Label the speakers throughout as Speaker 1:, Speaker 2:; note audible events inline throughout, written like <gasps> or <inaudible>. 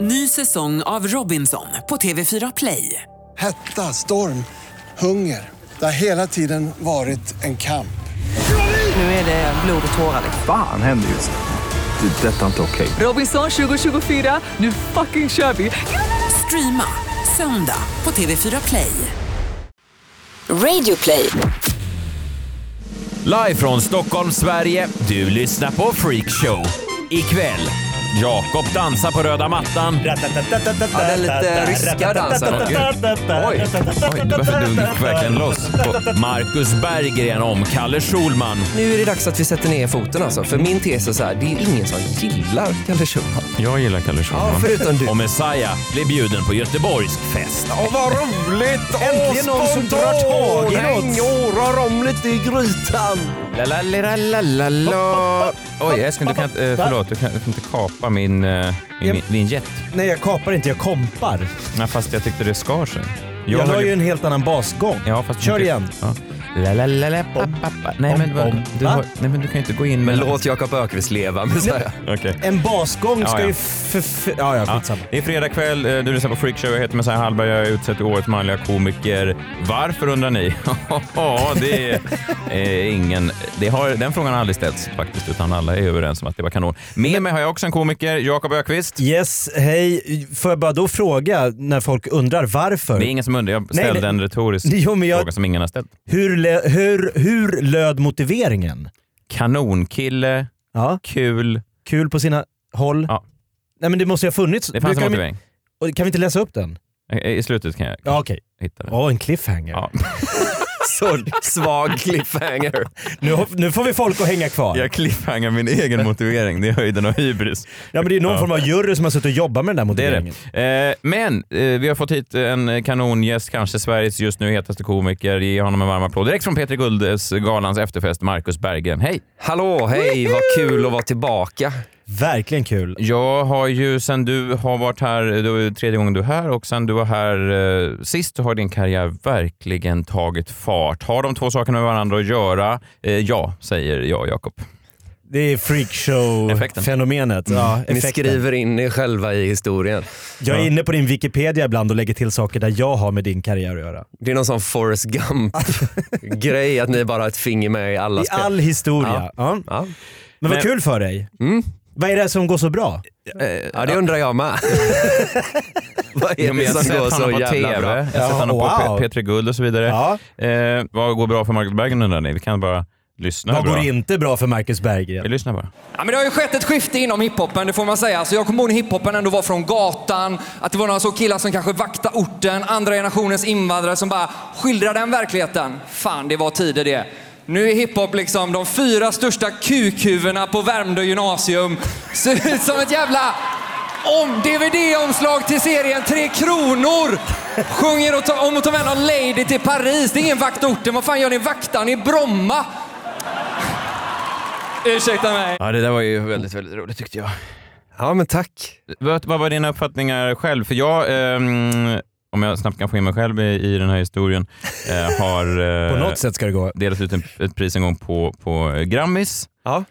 Speaker 1: Ny säsong av Robinson på TV4 Play.
Speaker 2: Hetta, storm, hunger. Det har hela tiden varit en kamp.
Speaker 1: Nu är det blod och tårar.
Speaker 3: Fan händer just nu. Det. är Detta är inte okej.
Speaker 1: Robinson 2024, nu fucking kör vi! Streama söndag på TV4 Play.
Speaker 4: Radio play.
Speaker 5: Live från Stockholm, Sverige. Du lyssnar på Freak Show. Ikväll. Jakob dansar på röda mattan.
Speaker 6: Ja, den lite ryska dansen.
Speaker 5: Åh, gud. Oj, oj, du börjar- du gick verkligen loss. Och Marcus Berggren om Kalle Schulman.
Speaker 6: Nu är det dags att vi sätter ner foten alltså. För min tes är så här, det är ingen som gillar Kalle Schulman.
Speaker 5: Jag gillar Kalle Schulman.
Speaker 6: Ja, förutom
Speaker 7: <laughs>
Speaker 6: du.
Speaker 5: Och Messiah blev bjuden på Göteborgsk fest.
Speaker 6: Åh, vad roligt!
Speaker 5: Äntligen någon som drar tag i något.
Speaker 6: rör om lite i grytan.
Speaker 7: La, la, li, la, la, la, la. Oj, Esken, du kan inte, eh, förlåt, du kan, du kan inte kapa min, eh, min, min jet.
Speaker 8: Nej, jag kapar inte, jag kompar.
Speaker 7: Nej, fast jag tyckte det skar sig.
Speaker 8: Jag, har
Speaker 7: höll-
Speaker 8: ju en helt annan basgång.
Speaker 7: Ja, fast
Speaker 8: Kör
Speaker 7: du-
Speaker 8: igen.
Speaker 7: Ja. La, la, la, la, pa, pa, pa. Nej,
Speaker 8: Om,
Speaker 7: men, vad-
Speaker 8: om.
Speaker 7: du
Speaker 8: Va?
Speaker 7: har, nej, men du kan ju inte gå in med...
Speaker 6: Men låt Jakob Ökvist leva, Messiah.
Speaker 7: Okej.
Speaker 8: En basgång ska
Speaker 7: Ja, ja.
Speaker 8: ju... För, för, ja, ja,
Speaker 7: Ja,
Speaker 8: skitsamma.
Speaker 7: det är fredag kväll, eh, du lyssnar på Freak Show. Jag heter Messiah Hallberg, jag är utsedd till Årets manliga komiker. Varför undrar ni? <laughs> Ja, det är eh, ingen... Det har, den frågan har aldrig ställts faktiskt, utan alla är överens om att det var kanon. Med mig har jag också en komiker, Jakob Ökvist.
Speaker 8: Yes, hej. Får jag bara då fråga, när folk undrar varför.
Speaker 7: Det är ingen som undrar. Jag
Speaker 8: Nej,
Speaker 7: ställde
Speaker 8: nej.
Speaker 7: en retorisk
Speaker 8: <laughs> Jo, men jag-
Speaker 7: fråga som ingen har ställt.
Speaker 8: Hur, lö- hur, hur löd motiveringen?
Speaker 7: Kanonkille,
Speaker 8: Ja,
Speaker 7: kul.
Speaker 8: kul på sina håll.
Speaker 7: Ja.
Speaker 8: Nej men det måste ju ha funnits.
Speaker 7: Det fanns
Speaker 8: Du,
Speaker 7: en
Speaker 8: kan, vi,
Speaker 7: motivering.
Speaker 8: och kan vi inte läsa upp den?
Speaker 7: I i slutet kan jag
Speaker 8: Ja okej.
Speaker 7: hitta <laughs> det.
Speaker 8: Åh, en cliffhanger.
Speaker 7: Ja.
Speaker 6: Så svag cliffhanger.
Speaker 8: Nu, hop- nu får vi folk att hänga kvar.
Speaker 7: Jag cliffhangar
Speaker 6: <laughs>
Speaker 7: min egen motivering. Det är höjden av hybris.
Speaker 8: Ja men det är någon form av jury som har suttit och jobbat med den där
Speaker 7: Det är
Speaker 8: motiveringen.
Speaker 7: det. Eh, men eh, vi har fått hit en kanongäst, kanske Sveriges just nu hetaste komiker. Ge honom en varm applåd. Direkt från Peter Guldes galans efterfest, Marcus Berggren. Hej!
Speaker 6: Hallå, hej, vad kul att vara tillbaka.
Speaker 8: Verkligen kul.
Speaker 7: Jag har ju sen du har varit här, det är tredje gången du är här och sen du var här eh, sist så har din karriär verkligen tagit fart. Har de två sakerna med varandra att göra? Eh, ja, säger jag Jakob.
Speaker 8: Det är
Speaker 7: Effekten.
Speaker 8: freakshow-fenomenet. Ja,
Speaker 6: Ni
Speaker 8: effekten.
Speaker 6: skriver in er själva i historien.
Speaker 8: Jag är inne på din Wikipedia ibland och lägger till saker där jag har med din karriär att göra.
Speaker 6: Det är någon sån Forrest Gump-grej, att ni bara har ett finger med i alla
Speaker 8: I all historia. Ja.
Speaker 6: Ja.
Speaker 8: Men vad kul för dig. Vad är det som går så bra?
Speaker 6: ja, det undrar jag
Speaker 7: <laughs>
Speaker 6: med. Vad
Speaker 7: Ja,
Speaker 6: är
Speaker 7: men
Speaker 6: det
Speaker 7: jag har
Speaker 6: som
Speaker 7: sett
Speaker 6: går så
Speaker 7: honom på
Speaker 6: jävla
Speaker 7: TV, jag
Speaker 6: bra?
Speaker 7: har sett honom på
Speaker 8: Ja, wow.
Speaker 7: P- P3 Guld och så vidare.
Speaker 8: Ja.
Speaker 7: Eh, vad går bra för Marcus Berggren undrar ni? Vi kan bara lyssna.
Speaker 8: Vad
Speaker 7: bra.
Speaker 8: går inte bra för Marcus
Speaker 7: Vi
Speaker 8: Berggren?
Speaker 7: lyssnar bara.
Speaker 9: Ja, men det har ju skett ett skifte inom hiphopen, det får man säga. Så jag kommer ihåg när hiphopen ändå var från gatan, att det var några så killar som kanske vaktade orten, andra generationens invandrare som bara skildrade den verkligheten. Fan, det var tider det. Nu är hiphop liksom de fyra största kukhuvudena på Värmdö gymnasium. Ser ut som ett jävla om DVD-omslag till serien Tre Kronor. Sjunger och ta- om att ta med någon lady till Paris. Det är ingen vakt orten. Vad fan gör ni vaktan i Bromma? Ursäkta mig.
Speaker 7: Ja, det där var ju väldigt, väldigt roligt tyckte jag.
Speaker 6: Ja, men tack.
Speaker 7: Vad, vad var dina uppfattningar själv? För jag, ehm, om jag snabbt kan få in mig själv i, i den här historien, eh, har eh,
Speaker 8: På något sätt ska det gå.
Speaker 7: delat ut en, ett pris en gång på, på eh, Grammis.
Speaker 6: Ja.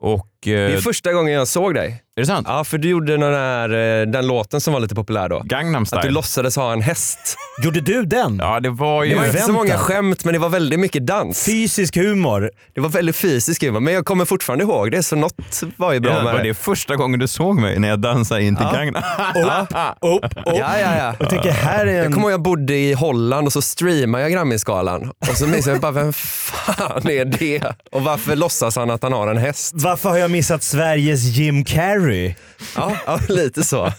Speaker 7: Och, eh,
Speaker 6: Det är
Speaker 7: är
Speaker 6: första gången jag såg dig.
Speaker 7: det sant?
Speaker 6: Ja, för du gjorde den, här, eh, den låten som var lite populär då.
Speaker 7: Gangnam
Speaker 6: Att du
Speaker 7: style.
Speaker 6: låtsades ha en häst.
Speaker 8: Gjorde du den?
Speaker 7: Ja, det var ju...
Speaker 6: Det var inte så
Speaker 8: Förväntan.
Speaker 6: många skämt, men det var väldigt mycket dans.
Speaker 8: Fysisk humor.
Speaker 6: Det var väldigt fysiskt, humor, men jag kommer fortfarande ihåg det, så något var ju bra
Speaker 7: Ja,
Speaker 6: med
Speaker 7: var det första gången du såg mig när jag dansade in till Gangnam? <laughs>
Speaker 8: Upp, upp.
Speaker 6: Ja, ja, ja.
Speaker 8: Jag tänker här är
Speaker 6: Jag
Speaker 8: en...
Speaker 6: kommer ihåg jag bodde i Holland och så streamade jag Grammisgalan. Och så minns jag bara, vem fan är det? Och varför låtsas han att han har en häst?
Speaker 8: Varför har jag missat Sveriges Jim Carrey? <laughs>
Speaker 6: Ja, ja lite så.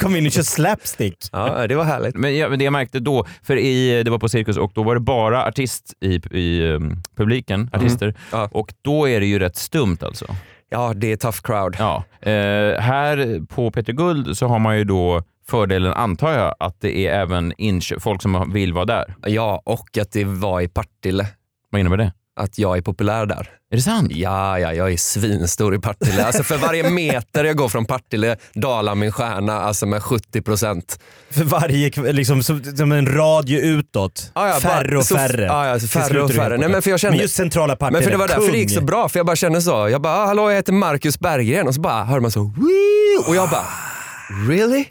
Speaker 8: Kom in och kör slapstick.
Speaker 6: Ja, det var härligt.
Speaker 7: Men ja, men det jag märkte då, för i, det var på Cirkus och då var det bara artist i, i ehm, publiken, artister.
Speaker 6: Mm. Ja.
Speaker 7: Och då är det ju rätt stumt alltså.
Speaker 6: Ja, det är tough crowd.
Speaker 7: Ja. Eh, här på Peter Guld så har man ju då fördelen, antar jag, att det är även inköp, folk som vill vara där.
Speaker 6: Ja, och att det var i Partille.
Speaker 7: Vad innebär det?
Speaker 6: Att jag är populär där.
Speaker 7: Är det sant?
Speaker 6: Ja, ja, jag är svinstor i Partille. Alltså för varje meter jag går från Partille dalar min stjärna alltså med 70 procent.
Speaker 8: För varje kv- liksom som, som en radio utåt.
Speaker 6: Ah, Ja, ja,
Speaker 8: färre
Speaker 6: bara-
Speaker 8: och
Speaker 6: så-
Speaker 8: färre.
Speaker 6: ja, ja, så
Speaker 8: Till
Speaker 6: färre
Speaker 8: slut är
Speaker 6: och
Speaker 8: du
Speaker 6: färre.
Speaker 8: helt
Speaker 6: Nej,
Speaker 8: borta.
Speaker 6: men för jag känner-
Speaker 8: just centrala Partille.
Speaker 6: Men för det var därför
Speaker 8: kung.
Speaker 6: det gick
Speaker 8: <laughs>
Speaker 6: så bra, för jag bara kände så. Jag bara, ah, hallå jag heter Marcus Berggren och så bara hör man så, Wii! och jag bara,
Speaker 8: <laughs>
Speaker 6: really?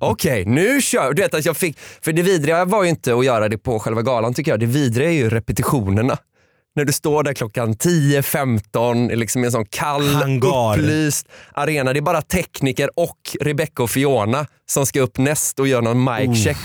Speaker 6: Okej, nu kör Du vet att jag fick, för det vidriga var ju inte att göra det på själva galan tycker jag. Det vidriga är ju repetitionerna. När du står där klockan 10, 15 liksom i en sån kall,
Speaker 8: Hangar.
Speaker 6: upplyst arena. Det är bara tekniker och Rebecca och Fiona som ska upp näst och göra någon
Speaker 8: Oh.
Speaker 6: mic-check.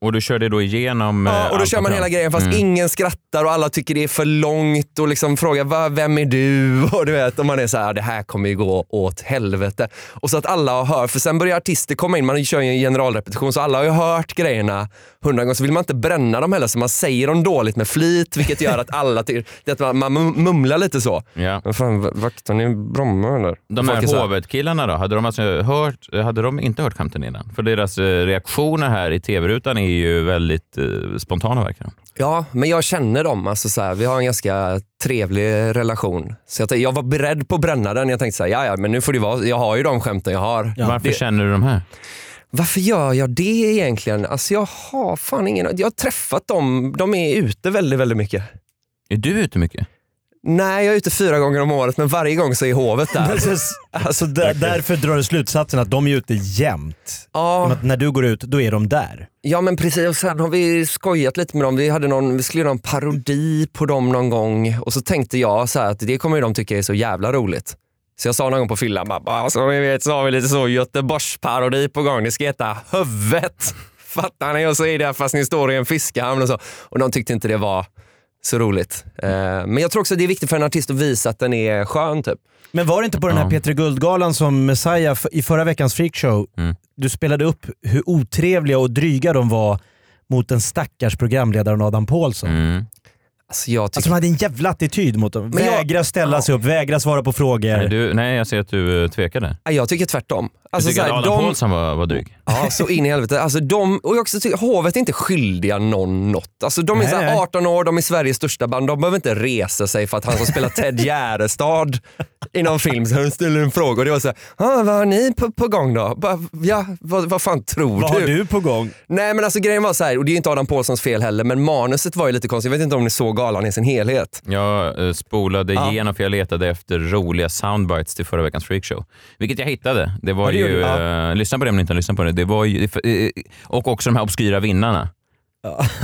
Speaker 7: Och du kör det då igenom... eh,
Speaker 6: Ja, och då
Speaker 7: allt Mm.
Speaker 6: kör man
Speaker 7: program.
Speaker 6: hela grejen fast ingen skrattar och alla tycker det är för långt och liksom frågar "Va, vem är du? <laughs> Och du vet, och man är så här, det här kommer ju gå åt helvete. Och så att alla hör, för sen börjar artister komma in, man kör ju en generalrepetition så alla har ju hört grejerna hundra gånger så vill man inte bränna dem heller så man säger dem dåligt med flit vilket gör att alla tycker, <laughs> det att man, man mumlar lite så.
Speaker 7: Ja.
Speaker 6: Men fan, vaktar ni Bromma eller?
Speaker 7: De
Speaker 6: Folk är så
Speaker 7: här hovetkillarna då, hade de, alltså hört, hade de inte hört skämten innan? För deras eh, reaktioner här i tv-rutan är ju väldigt eh, spontana verkar de.
Speaker 6: Ja, men jag känner dem. Alltså så här, vi har en ganska trevlig relation. Så jag, tänkte- jag var beredd på att bränna den. Jag tänkte så här, ja, ja, men nu får det vara. Jag har ju de skämten jag har.
Speaker 7: Varför känner du de här?
Speaker 6: Varför gör jag det egentligen? Alltså jag har fan ingen Jag har träffat dem. De är ute väldigt, väldigt mycket.
Speaker 7: Är du ute mycket?
Speaker 6: Nej, jag är ute fyra gånger om året, men varje gång så är hovet
Speaker 8: <laughs>
Speaker 6: där.
Speaker 8: Precis. Så Alltså, där, därför drar du slutsatsen att de är ute jämt.
Speaker 6: Ja.
Speaker 8: Men att när du går ut, då är de där.
Speaker 6: Ja men precis, och sen har vi skojat lite med dem. Vi, hade någon, vi skulle göra en parodi på dem någon gång och så tänkte jag så här att det kommer ju de tycka är så jävla roligt. Så jag sa någon gång på fyllan, bara, "Bara, som ni vet så har vi lite så Göteborgsparodi på gång. Det ska heta Hövet. <laughs> Fattar ni? Och så är det fast ni står i en fiskhamn och så. Och de tyckte inte det var så roligt. Eh, Men jag tror också att det är viktigt för en artist att visa att den är skön typ.
Speaker 8: Men var det inte på den här
Speaker 7: Ja.
Speaker 8: P3 Guldgalan som Messiah f- i förra veckans freakshow,
Speaker 7: Mm.
Speaker 8: du spelade upp hur otrevliga och dryga de var mot den stackars programledaren Adam Pålsson.
Speaker 7: Mm.
Speaker 6: Alltså jag
Speaker 8: Alltså
Speaker 6: tycker...
Speaker 8: de hade en jävla attityd mot dem.
Speaker 6: Men jag-
Speaker 8: Vägra ställa sig upp, vägra svara på frågor.
Speaker 7: Nej, du, nej, jag ser att du eh, tvekar där.
Speaker 6: jag tycker tvärtom.
Speaker 7: Du
Speaker 6: Alltså,
Speaker 7: tycker
Speaker 6: så här,
Speaker 7: att Adam
Speaker 6: de-
Speaker 7: Pålsson var, var dryg?
Speaker 6: Ja, så in i helvete. Alltså, de, och jag också tycker, hovet är inte skyldiga någon något. Alltså, de är
Speaker 8: Nej,
Speaker 6: så
Speaker 8: nej.
Speaker 6: här 18 år, de är Sveriges största band. De behöver inte resa sig för att han som spelar Ted Gärdestad i någon film så han ställer en fråga och det var så här, ah, vad har ni på, på gång då? Bara, ja, vad, vad fan tror
Speaker 8: Vad har du på gång?
Speaker 6: Nej men alltså grejen var så här, och det är ju inte Adam Pålssons fel heller, men manuset var ju lite konstigt. Jag vet inte om ni såg galan i sin helhet.
Speaker 7: Jag eh, spolade igenom för jag letade efter roliga soundbites till förra veckans freakshow. Vilket jag hittade. Det var
Speaker 8: Ja, det gjorde
Speaker 7: ju,
Speaker 8: du.
Speaker 7: eh, lyssna på det om ni inte har lyssnat på det. det var ju, eh, och också de här obskyra vinnarna.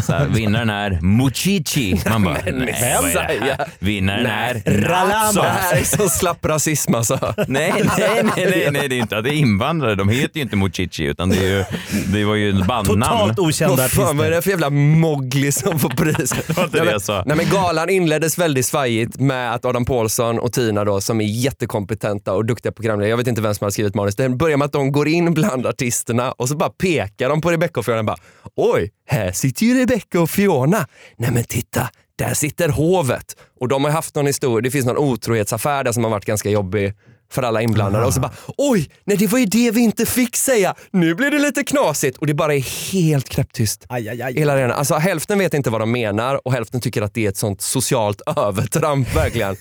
Speaker 7: Så här, vinnaren är Muchichi. Man bara, nej, vad är det här? Vinnaren är
Speaker 6: Så
Speaker 8: Alltså.
Speaker 7: Ralama.
Speaker 6: här är så slapp rasism alltså.
Speaker 7: Nej, nej, nej, nej, nej, det är inte att det är invandrare. De heter ju inte Muchichi utan det, är ju, det var ju ett bandnamn.
Speaker 8: Totalt okända
Speaker 6: Vad fan vad är
Speaker 8: artister.
Speaker 6: det för jävla mogli som får pris? det
Speaker 7: var inte
Speaker 6: nej,
Speaker 7: det
Speaker 6: men-
Speaker 7: jag sa.
Speaker 6: Nej, men galan inleddes väldigt svajigt med att Adam Pålsson och Tina då, som är jättekompetenta och duktiga programledare, jag vet inte vem som har skrivit manus, den börjar med att de går in bland artisterna och så bara pekar de på Rebecca och Fiona och bara oj, här sitter ju Rebecca och Fiona. Nej men titta, där sitter hovet. Och de har haft någon historia, det finns någon otrohetsaffär där som har varit ganska jobbig för alla inblandade och så bara oj, nej det var ju det vi inte fick säga. Nu blir det lite knasigt och det bara är helt knäpptyst.
Speaker 8: Aj, aj, aj.
Speaker 6: Hela arenan. Alltså, hälften vet inte vad de menar och hälften tycker att det är ett sånt socialt <laughs> övertramp verkligen.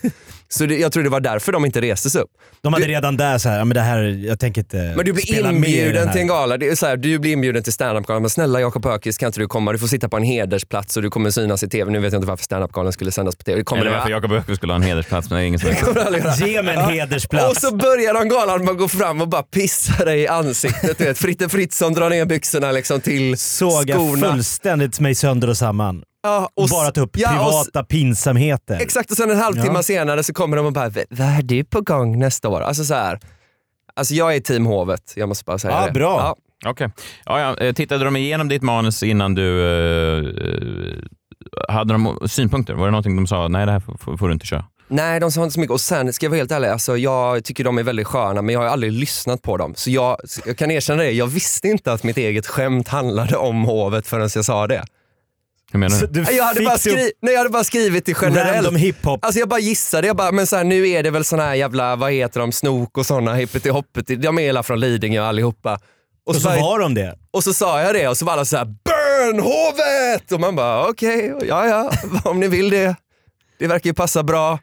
Speaker 6: Så det, jag tror det var därför de inte restes upp.
Speaker 8: De hade redan där så här, ja, men det här, jag tänker inte
Speaker 6: Men du blir
Speaker 8: spela med i den
Speaker 6: inbjuden
Speaker 8: här.
Speaker 6: till en gala. Det är så här, du blir inbjuden till standup-galan. Men snälla Jakob Öqvist kan inte du komma? Du får sitta på en hedersplats och du kommer synas i tv. Nu vet jag inte varför standup-galan skulle sändas på tv. Det kommer
Speaker 7: Eller
Speaker 6: det
Speaker 7: varför Jakob Öqvist skulle ha en hedersplats, men det är ingen som vet.
Speaker 6: kommer aldrig göra.
Speaker 8: Ge mig en
Speaker 6: Och
Speaker 8: hedersplats.
Speaker 6: så börjar de galan med att gå fram och bara pissa dig i ansiktet. Du vet, Fritte Fritzson drar ner byxorna liksom till
Speaker 8: Såga
Speaker 6: skorna.
Speaker 8: fullständigt mig sönder och samman.
Speaker 6: Ja, och s-
Speaker 8: Bara ta upp
Speaker 6: ja, och s-
Speaker 8: privata pinsamheter.
Speaker 6: Exakt, och sen en halvtimme
Speaker 8: Ja.
Speaker 6: senare så kommer de och bara, "V- vad är du på gång nästa år? Alltså så här. Alltså jag är team hovet, jag måste bara säga
Speaker 8: Ja,
Speaker 6: det.
Speaker 8: Ah, bra.
Speaker 6: Ja.
Speaker 7: <laughs> Okej. Ja, ja. eh, Tittade de igenom ditt manus innan du... eh, eh, hade de synpunkter? Var det någonting de sa, nej det här får, får du inte köra?
Speaker 6: Nej, de sa inte så mycket. Och sen, ska jag vara helt ärlig, alltså, jag tycker de är väldigt sköna men jag har aldrig lyssnat på dem. Så jag, jag kan erkänna det, jag visste inte att mitt eget skämt handlade om hovet förrän jag sa
Speaker 8: <laughs>
Speaker 6: det.
Speaker 7: Hur menar
Speaker 8: Så
Speaker 7: du?
Speaker 8: du
Speaker 6: Jag hade,
Speaker 8: fick
Speaker 6: bara,
Speaker 8: se upp
Speaker 6: skri- Nej, jag hade bara skrivit det generellt.
Speaker 8: random hiphop.
Speaker 6: Alltså jag bara gissade, jag bara, men så här, nu är det väl såna här jävla, vad heter de, snok och såna hippity hoppity. De är hela från Lidingö allihopa.
Speaker 8: Och så
Speaker 6: bara-
Speaker 8: var de det. <laughs>
Speaker 6: Och så sa jag det och så var alla så här “Burn hovet!” och man bara okej, ja ja, <laughs> om ni vill det. Det verkar ju passa bra.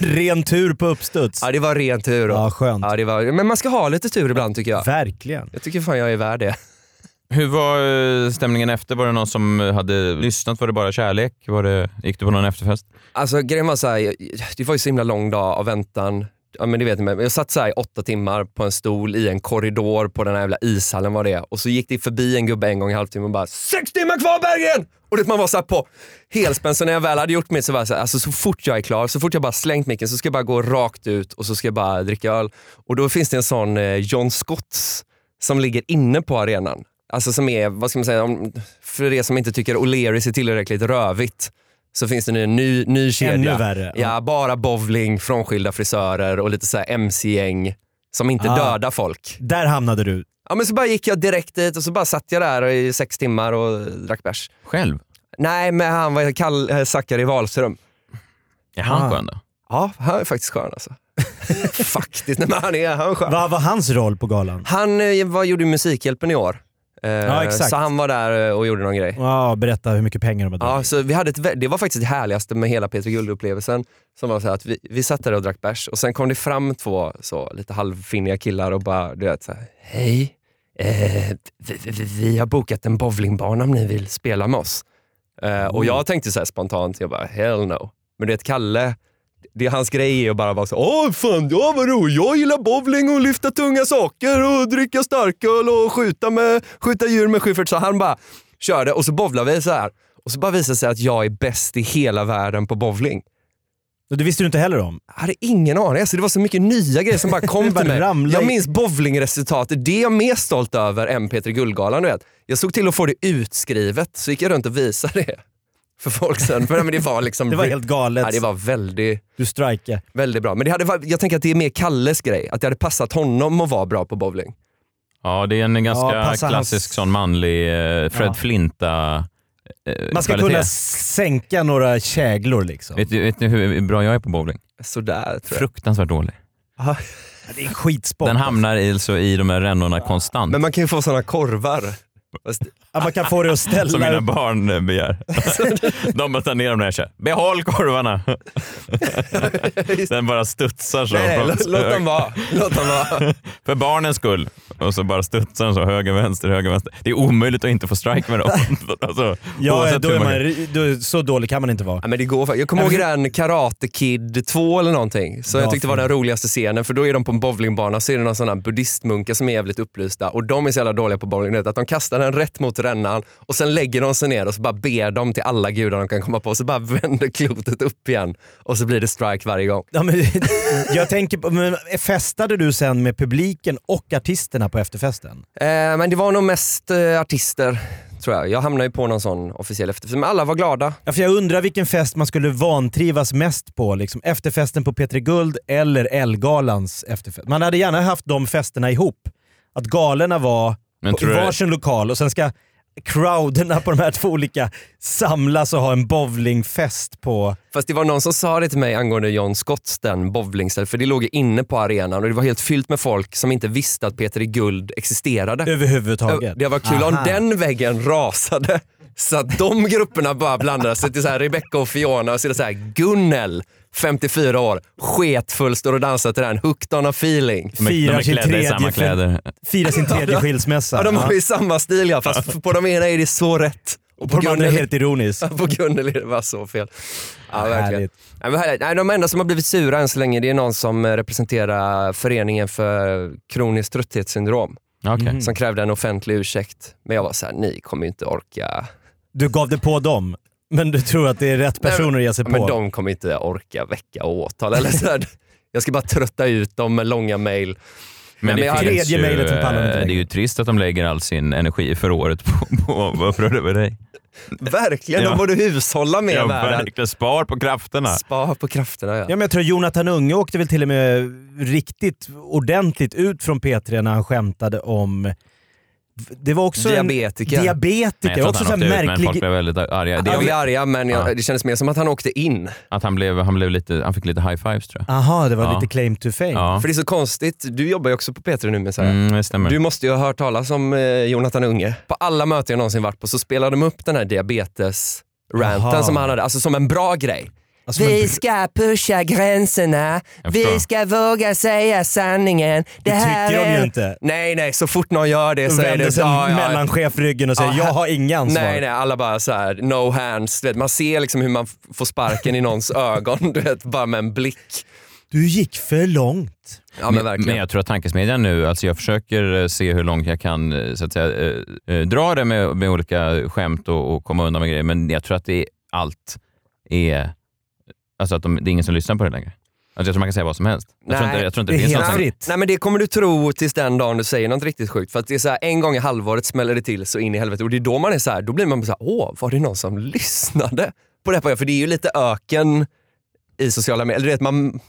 Speaker 8: Ren tur på uppstuds.
Speaker 6: Ja, det var ren tur.
Speaker 8: Ja, skönt.
Speaker 6: Ja, det var, men man ska ha lite tur ibland tycker jag.
Speaker 8: Verkligen.
Speaker 6: Jag tycker fan jag är värd det.
Speaker 7: Hur var eh, stämningen efter? Var det någon som hade lyssnat? Var det bara kärlek? Var det, gick du på någon efterfest?
Speaker 6: Alltså grejen var så här, det var ju så himla lång dag av väntan. ja men det vet ni, men jag satt så här i åtta timmar på en stol i en korridor på den här jävla ishallen var det är. och så gick det förbi en gubbe en gång i halvtimmen och bara “sex timmar kvar Bergen!” och det man var så här på helspänn. Så när jag väl hade gjort mitt så var jag så här, alltså så fort jag är klar, så fort jag bara slängt micken så ska jag bara gå rakt ut och så ska jag bara dricka öl. Och då finns det en sån eh, John Scotts som ligger inne på arenan. Alltså som är, vad ska man säga, om, för er som inte tycker O'Learys är tillräckligt rövigt så finns det nu en ny, ny kedja.
Speaker 8: Ännu värre.
Speaker 6: Ja, bara bowling, frånskilda frisörer och lite så här mc-gäng som inte
Speaker 8: Ah.
Speaker 6: dödar folk.
Speaker 8: Där hamnade du.
Speaker 6: Ja, men så bara gick jag direkt dit och så bara satt jag där i sex timmar och drack bärs.
Speaker 7: Själv?
Speaker 6: Nej, men han var Kall- eh, Zackari Wahlström.
Speaker 7: Är han
Speaker 8: Ah.
Speaker 7: skön då?
Speaker 6: Ja, han är faktiskt skön alltså. <laughs> faktiskt, nej, men han är, han är skön.
Speaker 8: Vad var hans roll på galan?
Speaker 6: Han eh, var, gjorde Musikhjälpen i år. Eh,
Speaker 8: Ja, exakt.
Speaker 6: Så han var där eh, och gjorde någon grej.
Speaker 8: Ja, berätta hur mycket pengar de har
Speaker 6: Ja,
Speaker 8: dragit.
Speaker 6: så vi hade ett, vä- det var faktiskt det härligaste med hela Peter Guld-upplevelsen. Som var så här att vi, vi satt där och drack bärs och sen kom det fram två så, lite halvfinniga killar och bara, du vet, så här, hej, eh, vi, vi, vi har bokat en bowlingbana om ni vill spela med oss. Eh, och jag tänkte så här spontant, jag bara, hell no. Men du vet, Kalle, det, hans grej är att bara vara så åh fan, ja vad roligt, jag gillar bowling och lyfta tunga saker och dricka starköl och skjuta, med, skjuta djur med Schyffert. Så han bara körde och så bowlade vi så här. Och så bara visade det sig att jag är bäst i hela världen på bowling.
Speaker 8: Och Det visste du inte heller om.
Speaker 6: Jag hade ingen aning. Alltså, det var så mycket nya grejer som bara
Speaker 8: Det <laughs>
Speaker 6: kom
Speaker 8: bara
Speaker 6: till mig.
Speaker 8: ramlade
Speaker 6: Jag
Speaker 8: i-
Speaker 6: minns bowlingresultatet. Det är jag mer stolt över än Peter Guldgalan. Du vet. Jag såg till att få det utskrivet, så gick jag runt och visade det för folk sen. Men, men det var liksom...
Speaker 8: <laughs> Det var helt galet.
Speaker 6: Ja, det var väldigt,
Speaker 8: Du strikade.
Speaker 6: väldigt bra. Men det hade, varit- jag tänker att det är mer Kalles grej. Att det hade passat honom att vara bra på bowling.
Speaker 7: Ja, det är en ganska
Speaker 8: passa hans-
Speaker 7: klassisk sån manlig eh, Fred
Speaker 8: Ja.
Speaker 7: Flinta eh,
Speaker 8: Man ska
Speaker 7: kvalitet.
Speaker 8: kunna sänka några käglor liksom.
Speaker 7: Vet, du- vet ni hur bra jag är på bowling?
Speaker 6: Sådär tror jag.
Speaker 7: Fruktansvärt dålig.
Speaker 8: Det är en skitsport.
Speaker 7: Den hamnar i- alltså i de här rännorna konstant.
Speaker 6: Men man kan ju få såna korvar. Fast-
Speaker 8: Ja, man kan få det att
Speaker 7: <laughs> Som
Speaker 8: ställa
Speaker 7: mina
Speaker 8: upp.
Speaker 7: barn eh, begär. de bara tar ner dem när jag kör. Behåll korvarna! Den bara studsar så.
Speaker 6: Nej,
Speaker 7: från-
Speaker 6: låt, låt dem vara. Låt dem vara.
Speaker 7: För barnens skull. Och så bara studsar den så höger, vänster, höger, vänster. Det är omöjligt att inte få strike
Speaker 8: <laughs>
Speaker 7: med dem. alltså,
Speaker 8: Ja,
Speaker 7: oavsett
Speaker 8: då
Speaker 7: hur
Speaker 8: är man,
Speaker 7: gör.
Speaker 8: ri- då, så dålig kan man inte vara.
Speaker 6: Ja, men det går, fa- jag kommer ihåg den Karate Kid 2 eller någonting, som
Speaker 8: Ja,
Speaker 6: jag tyckte var
Speaker 8: fan.
Speaker 6: den roligaste scenen. För då är de på en bowlingbana och så är det någon sån här buddhistmunkar som är jävligt upplysta och de är så jävla dåliga på bowling. du vet, Att de kastar den rätt mot rännan och sen lägger de sig ner och så bara ber de till alla gudar de kan komma på. Så bara <laughs> vänder klotet upp igen och så blir det strike varje gång.
Speaker 8: Ja, men, <laughs> jag tänker på, men festade du sen med publiken och artisterna på efterfesten?
Speaker 6: Eh, men det var nog mest eh, artister, tror jag. Jag hamnade ju på någon sån officiell efterfest, men alla var glada.
Speaker 8: Ja, för jag undrar vilken fest man skulle vantrivas mest på. Liksom efterfesten på P3 Guld eller Ellegalans efterfest. Man hade gärna haft de festerna ihop. Att galerna var
Speaker 7: Men
Speaker 8: på, i
Speaker 7: tror du-
Speaker 8: varsin lokal och sen ska crowderna på de här två olika samlas och ha en bowlingfest på...
Speaker 6: Fast det var någon som sa det till mig angående John Scotts, den bowlingstället, för det låg ju inne på arenan och det var helt fyllt med folk som inte visste att Peter i Guld existerade.
Speaker 8: Överhuvudtaget.
Speaker 6: Det var kul om
Speaker 8: Aha.
Speaker 6: den väggen rasade så att de grupperna bara blandade sig till så här Rebecca och Fiona och så är det så här Gunnel, 54 år, sketfull, står och dansar till den, hooked on a feeling.
Speaker 7: De är- de är
Speaker 8: Firar sin
Speaker 7: klädda i samma
Speaker 8: tredje- Mhm.
Speaker 7: kläder.
Speaker 8: Fira sin tredje skilsmässa.
Speaker 6: Ja, de har
Speaker 8: Ja.
Speaker 6: ju samma stil ja, fast på de ena är det så rätt. Och
Speaker 8: På de andra är det helt
Speaker 6: <laughs>
Speaker 8: ironiskt.
Speaker 6: på Gunnel är det bara så fel. Ja, verkligen.
Speaker 8: härligt.
Speaker 6: Nej, men härligt. Nej, de enda som har blivit sura än så länge det är någon som eh, representerar föreningen för kroniskt trötthetssyndrom
Speaker 7: Okej.
Speaker 6: som krävde en offentlig ursäkt. Men jag var så här, ni kommer ju inte orka.
Speaker 8: Du gav det på dem, men du tror att det är rätt personer att ge sig
Speaker 6: Ja, Men
Speaker 8: på.
Speaker 6: de kommer inte orka väcka åtal. Eller så här. <laughs> Jag ska bara trötta ut dem med långa mejl.
Speaker 7: Men,
Speaker 6: Nej, men jag-
Speaker 7: det, finns
Speaker 8: Tredje
Speaker 7: ju,
Speaker 8: mejlet från Palme
Speaker 7: eh,
Speaker 8: inte
Speaker 7: det är ju trist att de lägger all sin energi för året på, på vad upprörd över dig.
Speaker 6: Verkligen,
Speaker 7: Ja.
Speaker 6: de borde hushålla med
Speaker 7: Jag
Speaker 6: världen.
Speaker 7: verkligen spar på krafterna.
Speaker 6: Spa på krafterna ja.
Speaker 8: Ja, men jag tror Jonathan Unge åkte väl till och med riktigt ordentligt ut från P3 när han skämtade om... Det var också
Speaker 6: Diabetiker.
Speaker 8: en... Diabetiker.
Speaker 7: Nej, jag tror
Speaker 8: också
Speaker 7: att
Speaker 8: så
Speaker 7: han
Speaker 8: här
Speaker 7: åkte ut, men folk
Speaker 8: märklig...
Speaker 7: blev väldigt arga. Det
Speaker 6: Jag blev
Speaker 7: är
Speaker 6: arga men jag,
Speaker 7: Ja.
Speaker 6: det kändes mer som att han åkte in.
Speaker 7: att han, blev, han, blev lite, han fick lite high fives tror jag.
Speaker 8: Aha, det var
Speaker 7: Ja.
Speaker 8: lite claim to fame.
Speaker 7: Ja,
Speaker 6: För det är så konstigt, du jobbar ju också på P3 nu med så här.
Speaker 7: mm, det stämmer.
Speaker 6: Du måste ju ha hört talas om eh, Jonathan Unge. På alla möten jag någonsin varit på så spelade de upp den här
Speaker 8: Aha.
Speaker 6: diabetes-ranten som han hade, alltså som en bra grej.
Speaker 8: Alltså, men-
Speaker 6: ska pusha gränserna,
Speaker 7: Jag förstår.
Speaker 6: ska våga säga sanningen. Det,
Speaker 8: tycker de ju inte.
Speaker 6: Nej, nej, så fort någon gör det så är
Speaker 8: Vänder
Speaker 6: det...
Speaker 8: sig
Speaker 6: Ja, ja.
Speaker 8: mellanchef ryggen och säger
Speaker 6: Ja,
Speaker 8: “jag
Speaker 6: här-
Speaker 8: har inga ansvar”.
Speaker 6: Nej, nej, alla bara så här, no <laughs> hands. Du vet, man ser liksom hur man f- får sparken i någons ögon, du vet, bara med en blick.
Speaker 8: Du gick
Speaker 6: <laughs>
Speaker 8: för långt.
Speaker 6: Ja, men
Speaker 7: men, men
Speaker 6: verkligen.
Speaker 7: jag tror att tankesmedjan nu, alltså jag försöker eh, se hur långt jag kan eh, så att säga, eh, eh, dra det med, med olika skämt och, och komma undan med grejer, men jag tror att det är allt är... Alltså att de, det är ingen som lyssnar på det längre. Alltså jag tror man kan säga vad som helst. Jag tror
Speaker 6: Nej,
Speaker 7: inte, jag tror inte
Speaker 8: det
Speaker 7: det,
Speaker 8: är
Speaker 7: finns
Speaker 8: helt
Speaker 7: någon-
Speaker 8: fritt.
Speaker 6: Nej men det kommer du tro tills den dagen du säger något riktigt sjukt. För att det är så här, en gång i halvåret smäller det till så in i helvete. Och det är då man är så här, då blir man så här, åh, var det någon som lyssnade på det här programmet? För det är ju lite öken i sociala medier. Eller du vet, man,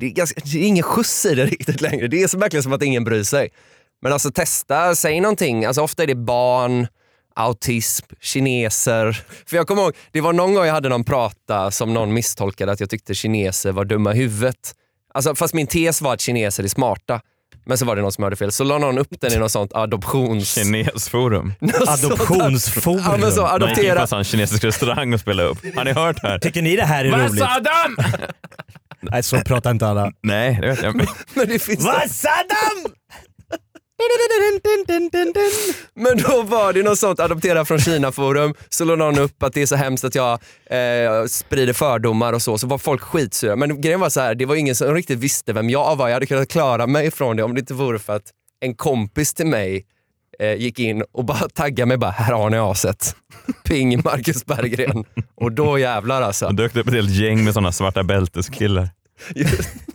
Speaker 6: det, är ganska, det är ingen skjuts i det <laughs> riktigt längre. Det är så verkligen som att ingen bryr sig. Men alltså testa, säg någonting. Alltså ofta är det barn, autism, kineser. För jag kommer ihåg, det var någon gång jag hade någon prata som någon misstolkade att jag tyckte kineser var dumma i huvudet. Alltså, fast min tes var att kineser är smarta. Men så var det någon som hörde fel. Så la någon upp den i något sånt adoptions... <laughs>
Speaker 7: Kinesforum.
Speaker 8: Adoptionsforum.
Speaker 6: Ja, men så,
Speaker 7: Man gick in på
Speaker 6: adoptera.
Speaker 7: en sån kinesisk restaurang och spelade upp. Har ni hört här?
Speaker 8: Tycker ni det här är
Speaker 7: Vad
Speaker 6: alltså,
Speaker 8: roligt?
Speaker 7: sa de?
Speaker 8: Nej, så pratar inte
Speaker 7: <laughs>
Speaker 8: alla.
Speaker 7: Nej, det vet jag inte.
Speaker 6: Men det finns
Speaker 8: Vad sa de?
Speaker 6: Men då var det något sånt adoptera från Kina-forum, så la någon upp att det är så hemskt att jag eh, sprider fördomar och så, så var folk skitsura. Men grejen var så här, det var ingen som riktigt visste vem jag var. Jag hade kunnat klara mig från det om det inte vore för att en kompis till mig eh, gick in och bara <laughs> taggade mig bara, här har ni aset. <laughs> Ping Marcus Berggren. Och då jävlar alltså.
Speaker 7: Det dök upp ett helt gäng med såna svarta bälteskillar.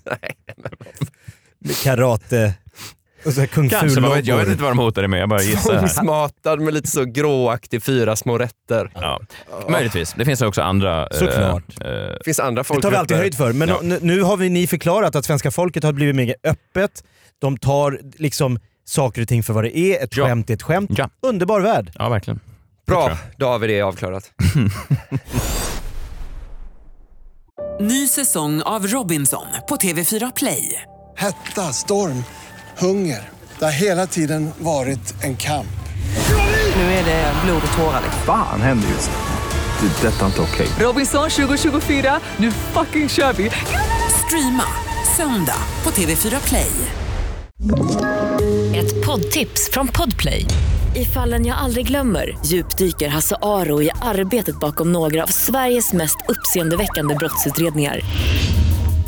Speaker 6: Nej, men
Speaker 8: Karate. Och så här kung
Speaker 7: Kanske, vad vet jag? jag vet
Speaker 8: fu-loggor.
Speaker 7: inte vad de hotade med. Jag bara gissar. här.
Speaker 6: Tvångsmatad med lite så gråaktig fyra små rätter.
Speaker 7: Ja. Möjligtvis. Det finns också andra... eh,
Speaker 8: Såklart.
Speaker 7: eh,
Speaker 6: Det finns andra folk
Speaker 8: Det tar vi alltid höjd för. Men
Speaker 7: Ja.
Speaker 8: nu- nu har vi, ni förklarat att svenska folket har blivit mer öppet. De tar liksom saker och ting för vad det är. Ett
Speaker 7: Ja.
Speaker 8: skämt är ett skämt.
Speaker 7: Ja.
Speaker 8: Underbar värld.
Speaker 7: ja, verkligen.
Speaker 6: Bra, då har vi det avklarat.
Speaker 1: Ny säsong av Robinson på TV4 Play.
Speaker 2: Hetta, storm, hunger. Det har hela tiden varit en kamp.
Speaker 1: Nu är det blod och tårar.
Speaker 3: Fan händer just det. Det är detta inte okej.
Speaker 1: Robinson 2024, nu fucking kör vi! Streama söndag på TV4 Play.
Speaker 10: Ett poddtips från Podplay. I fallen jag aldrig glömmer djupdyker Hasse Aro i arbetet bakom några av Sveriges mest uppseendeväckande brottsutredningar.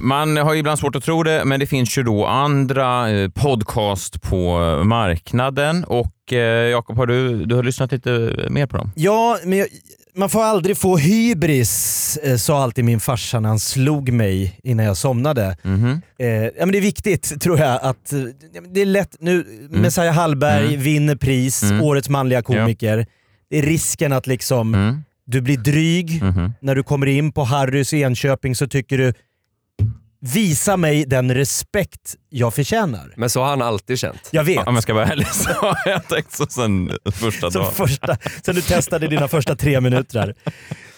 Speaker 7: Man har ju ibland svårt att tro det, men det finns ju då andra eh, podcast på marknaden. Och eh, Jakob, har du, du har lyssnat lite mer på dem?
Speaker 8: Ja, men jag, man får aldrig få hybris, eh, sa alltid min farsa när han slog mig innan jag somnade. Eh, ja, men det är viktigt tror jag att, eh, ja, men det är lätt nu, Messiah Hallberg vinner pris, årets manliga komiker. Det är risken att liksom, du blir dryg. När du kommer in på Harrys i Enköping så tycker du, visa mig den respekt jag förtjänar.
Speaker 6: Men så har han alltid känt.
Speaker 8: Jag vet.
Speaker 7: Ja, Om jag ska vara ärlig så har jag tänkt så sen första
Speaker 8: Som
Speaker 7: dagen.
Speaker 8: första, sen du testade dina första tre minuter.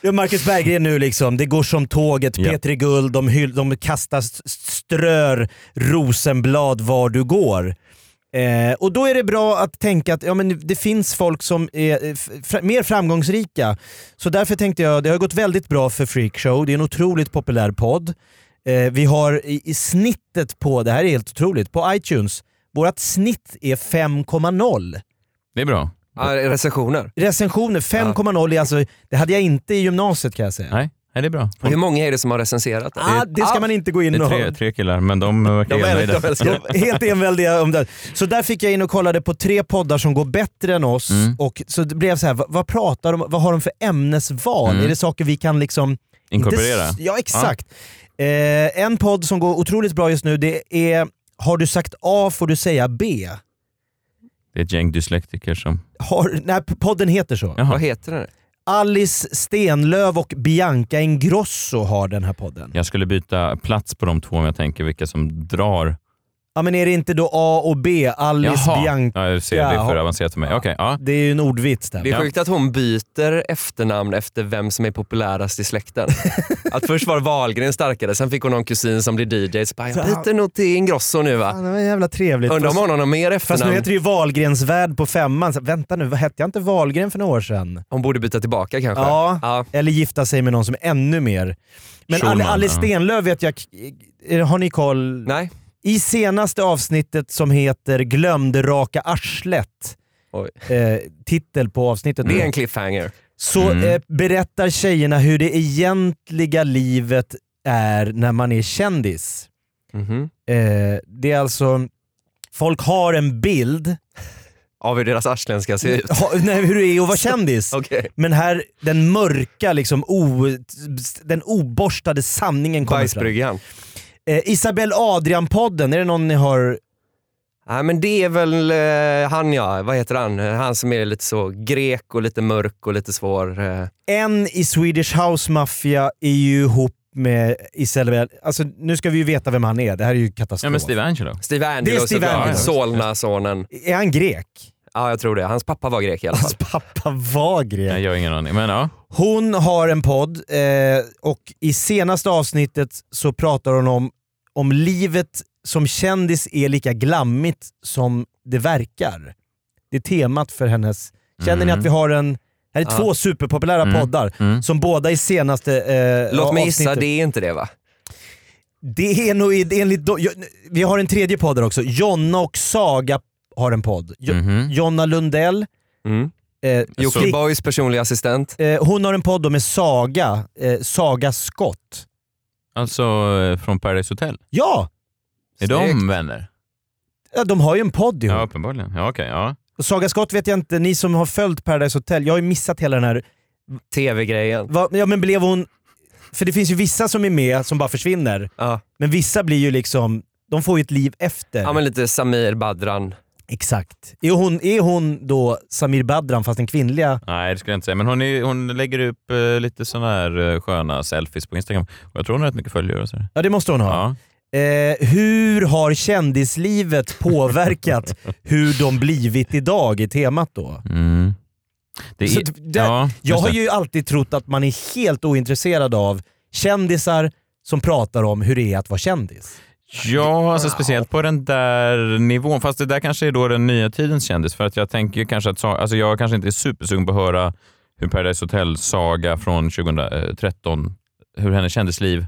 Speaker 8: Ja, Marcus Berggren nu liksom, det går som tåget,
Speaker 7: Ja.
Speaker 8: Petri Guld, de, hyll, de kastar, s- strör rosenblad var du går. Eh, och då är det bra att tänka att ja, men det finns folk som är eh, f- fra- mer framgångsrika. Så därför tänkte jag, det har gått väldigt bra för Freakshow, det är en otroligt populär podd. Eh, vi har i, i snittet på, det här är helt otroligt, på iTunes, vårt snitt är 5,0
Speaker 7: Det är bra.
Speaker 6: Ja, recensioner.
Speaker 8: recensioner. 5,0 är alltså, det hade jag inte i gymnasiet kan jag säga.
Speaker 7: Nej, nej det är bra.
Speaker 6: Hur många är det som har recenserat det?
Speaker 8: Ah, det ska man inte gå
Speaker 7: Det
Speaker 8: in
Speaker 7: är
Speaker 8: och...
Speaker 7: tre, tre killar, men de verkar
Speaker 6: De är-
Speaker 7: enögda.
Speaker 6: de
Speaker 8: <laughs>
Speaker 6: älskar-
Speaker 8: De- Helt enväldiga om det. Så där fick jag in och kollade på tre poddar som går bättre än oss.
Speaker 7: Mm.
Speaker 8: Och så det blev så här, vad, vad pratar de Vad har de för ämnesval? Är det saker vi kan liksom...
Speaker 7: Mm. Inkorporera.
Speaker 8: Inte, s- ja, exakt. Eh, en podd som går otroligt bra just nu det är Har du sagt A får du säga B.
Speaker 7: Det är ett gäng dyslektiker som...
Speaker 8: Har, nej, podden heter så.
Speaker 7: Jaha.
Speaker 6: Vad heter den?
Speaker 8: Alice Stenlöv och Bianca Ingrosso har den här podden.
Speaker 7: Jag skulle byta plats på de två om jag tänker vilka som drar
Speaker 8: Ja men är det inte då A och B? Alice
Speaker 7: Jaha.
Speaker 8: Bianca.
Speaker 7: Ja, jag ser, det är för
Speaker 8: Ja.
Speaker 7: avancerat för mig. Okej, ja.
Speaker 8: Det är ju en ordvits där.
Speaker 6: Det är sjukt att hon byter efternamn efter vem som är populärast i
Speaker 8: <laughs>
Speaker 6: släkten. att först var Wahlgren starkare, sen fick hon någon kusin som blev DJ. Så bara, jag byter nog till Ingrosso nu va.
Speaker 8: Fan, det var jävla trevligt.
Speaker 6: Undrar om
Speaker 8: Fast-
Speaker 6: hon har något mer efternamn.
Speaker 8: Fast nu heter det ju Wahlgrens värld på femman. Så, vänta nu, vad hette jag inte Wahlgren för några år sedan?
Speaker 6: Hon borde byta tillbaka kanske.
Speaker 8: Ja, eller gifta sig med någon som är ännu mer. Men
Speaker 6: Schulman,
Speaker 8: Schulman, Alice
Speaker 6: ja.
Speaker 8: Stenlöf vet jag, är- har ni koll?
Speaker 6: Nej.
Speaker 8: I senaste avsnittet som heter Glömde raka arslet, eh, titel på avsnittet.
Speaker 6: Det
Speaker 8: då,
Speaker 6: är en cliffhanger.
Speaker 8: Så
Speaker 6: Mm.
Speaker 8: eh, berättar tjejerna hur det egentliga livet är när man är kändis.
Speaker 6: Mhm.
Speaker 8: Eh, det är alltså, folk har en bild
Speaker 6: Av hur deras arslen ska se
Speaker 8: <laughs>
Speaker 6: ut.
Speaker 8: ha, nej, hur det är att vara kändis.
Speaker 6: Okej.
Speaker 8: Men här, den mörka, liksom, o, den oborstade sanningen kommer fram.
Speaker 6: Bajsbryggan.
Speaker 8: Eh, Isabelle Adrian-podden, är det någon ni har...
Speaker 6: Nej men det är väl eh, han ja, vad heter han? Eh, Han som är lite så grek och lite mörk och lite svår. Eh.
Speaker 8: En i Swedish House Mafia är ju ihop med Isabelle... Alltså, nu ska vi ju veta vem han är, det här är ju katastrof.
Speaker 6: Ja, men
Speaker 7: Steve Angelo.
Speaker 6: Steve Angelo,
Speaker 8: Det är Steve
Speaker 6: såklart.
Speaker 8: Angelo.
Speaker 6: Solna-sonen.
Speaker 8: Är han grek?
Speaker 6: Ja, jag tror det. Hans pappa var grek i alla fall. Hans
Speaker 8: pappa var grek?
Speaker 7: Jag har ingen aning, men ja.
Speaker 8: Hon har en podd eh, och i senaste avsnittet så pratar hon om om livet som kändis är lika glammigt som det verkar. Det är temat för hennes... Känner ni
Speaker 6: Mm.
Speaker 8: att vi har en... Här är
Speaker 6: Ja.
Speaker 8: två superpopulära
Speaker 6: Mm.
Speaker 8: poddar
Speaker 6: Mm.
Speaker 8: som båda i senaste eh,
Speaker 6: Låt mig gissa,
Speaker 8: avsnittet-
Speaker 6: det är inte det va?
Speaker 8: det är nog i- enligt... do- jag- Vi har en tredje podd där också. Jonna och Saga har en podd. Jo,
Speaker 6: Mm.
Speaker 7: Mhm.
Speaker 8: Jonna Lundell. Eh,
Speaker 6: Jockiboi personliga assistent.
Speaker 8: Eh, hon har en podd då med Saga, eh, Saga Skott.
Speaker 7: Alltså eh, från Paradise Hotel.
Speaker 8: Ja!
Speaker 7: Är de
Speaker 8: Snyggt.
Speaker 7: vänner?
Speaker 8: Ja, de har ju en podd ihop.
Speaker 7: Ja, uppenbarligen. Ja, okej. ja.
Speaker 8: Och Saga Skott vet jag inte, ni som har följt Paradise Hotel, jag har ju missat hela den här...
Speaker 6: TV-grejen.
Speaker 8: Va, ja men blev hon... För det finns ju vissa som är med som bara försvinner. Men vissa blir ju liksom, de får ju ett liv efter.
Speaker 6: Ja men lite Samir Badran.
Speaker 8: Exakt. Är hon, är hon då Samir Badran fast den kvinnliga?
Speaker 7: Nej, det skulle jag inte säga. Men hon, är, hon lägger upp eh, lite sådana här eh, sköna selfies på Instagram. Och jag tror hon har rätt mycket följare. och Så.
Speaker 8: Ja det måste hon ha. Eh, hur har kändislivet påverkat hur de blivit idag i temat då?
Speaker 7: Mm. Det är,
Speaker 8: Så det- det-
Speaker 7: ja,
Speaker 8: jag
Speaker 7: just
Speaker 8: har
Speaker 7: det.
Speaker 8: ju alltid trott att man är helt ointresserad av kändisar som pratar om hur det är att vara kändis.
Speaker 7: Ja, alltså speciellt på den där nivån. Fast det där kanske är då den nya tidens kändis. För att jag tänker ju kanske att Sa- alltså jag kanske inte är supersugen på att höra hur Paradise Hotel-saga från 2013, hur hennes kändisliv...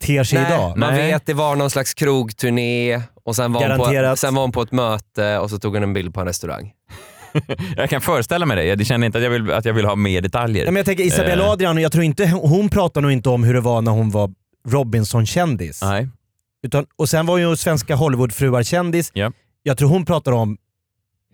Speaker 8: Ter sig idag.
Speaker 6: Man
Speaker 7: Nej.
Speaker 6: vet, det var någon slags krogturné och sen var, hon på,
Speaker 7: Garanterat.
Speaker 6: sen var hon på ett möte och så tog hon en bild på en restaurang.
Speaker 7: Jag kan föreställa mig det. Jag känner inte att jag vill, att jag vill ha mer detaljer.
Speaker 8: Nej, men jag tänker Isabella
Speaker 7: Eh,
Speaker 8: Adrian, jag tror inte, hon pratar nog inte om hur det var när hon var Robinson-kändis.
Speaker 7: Nej.
Speaker 8: Utan, och sen var ju svenska Hollywoodfruar-kändis.
Speaker 7: Ja.
Speaker 8: Jag tror hon pratar om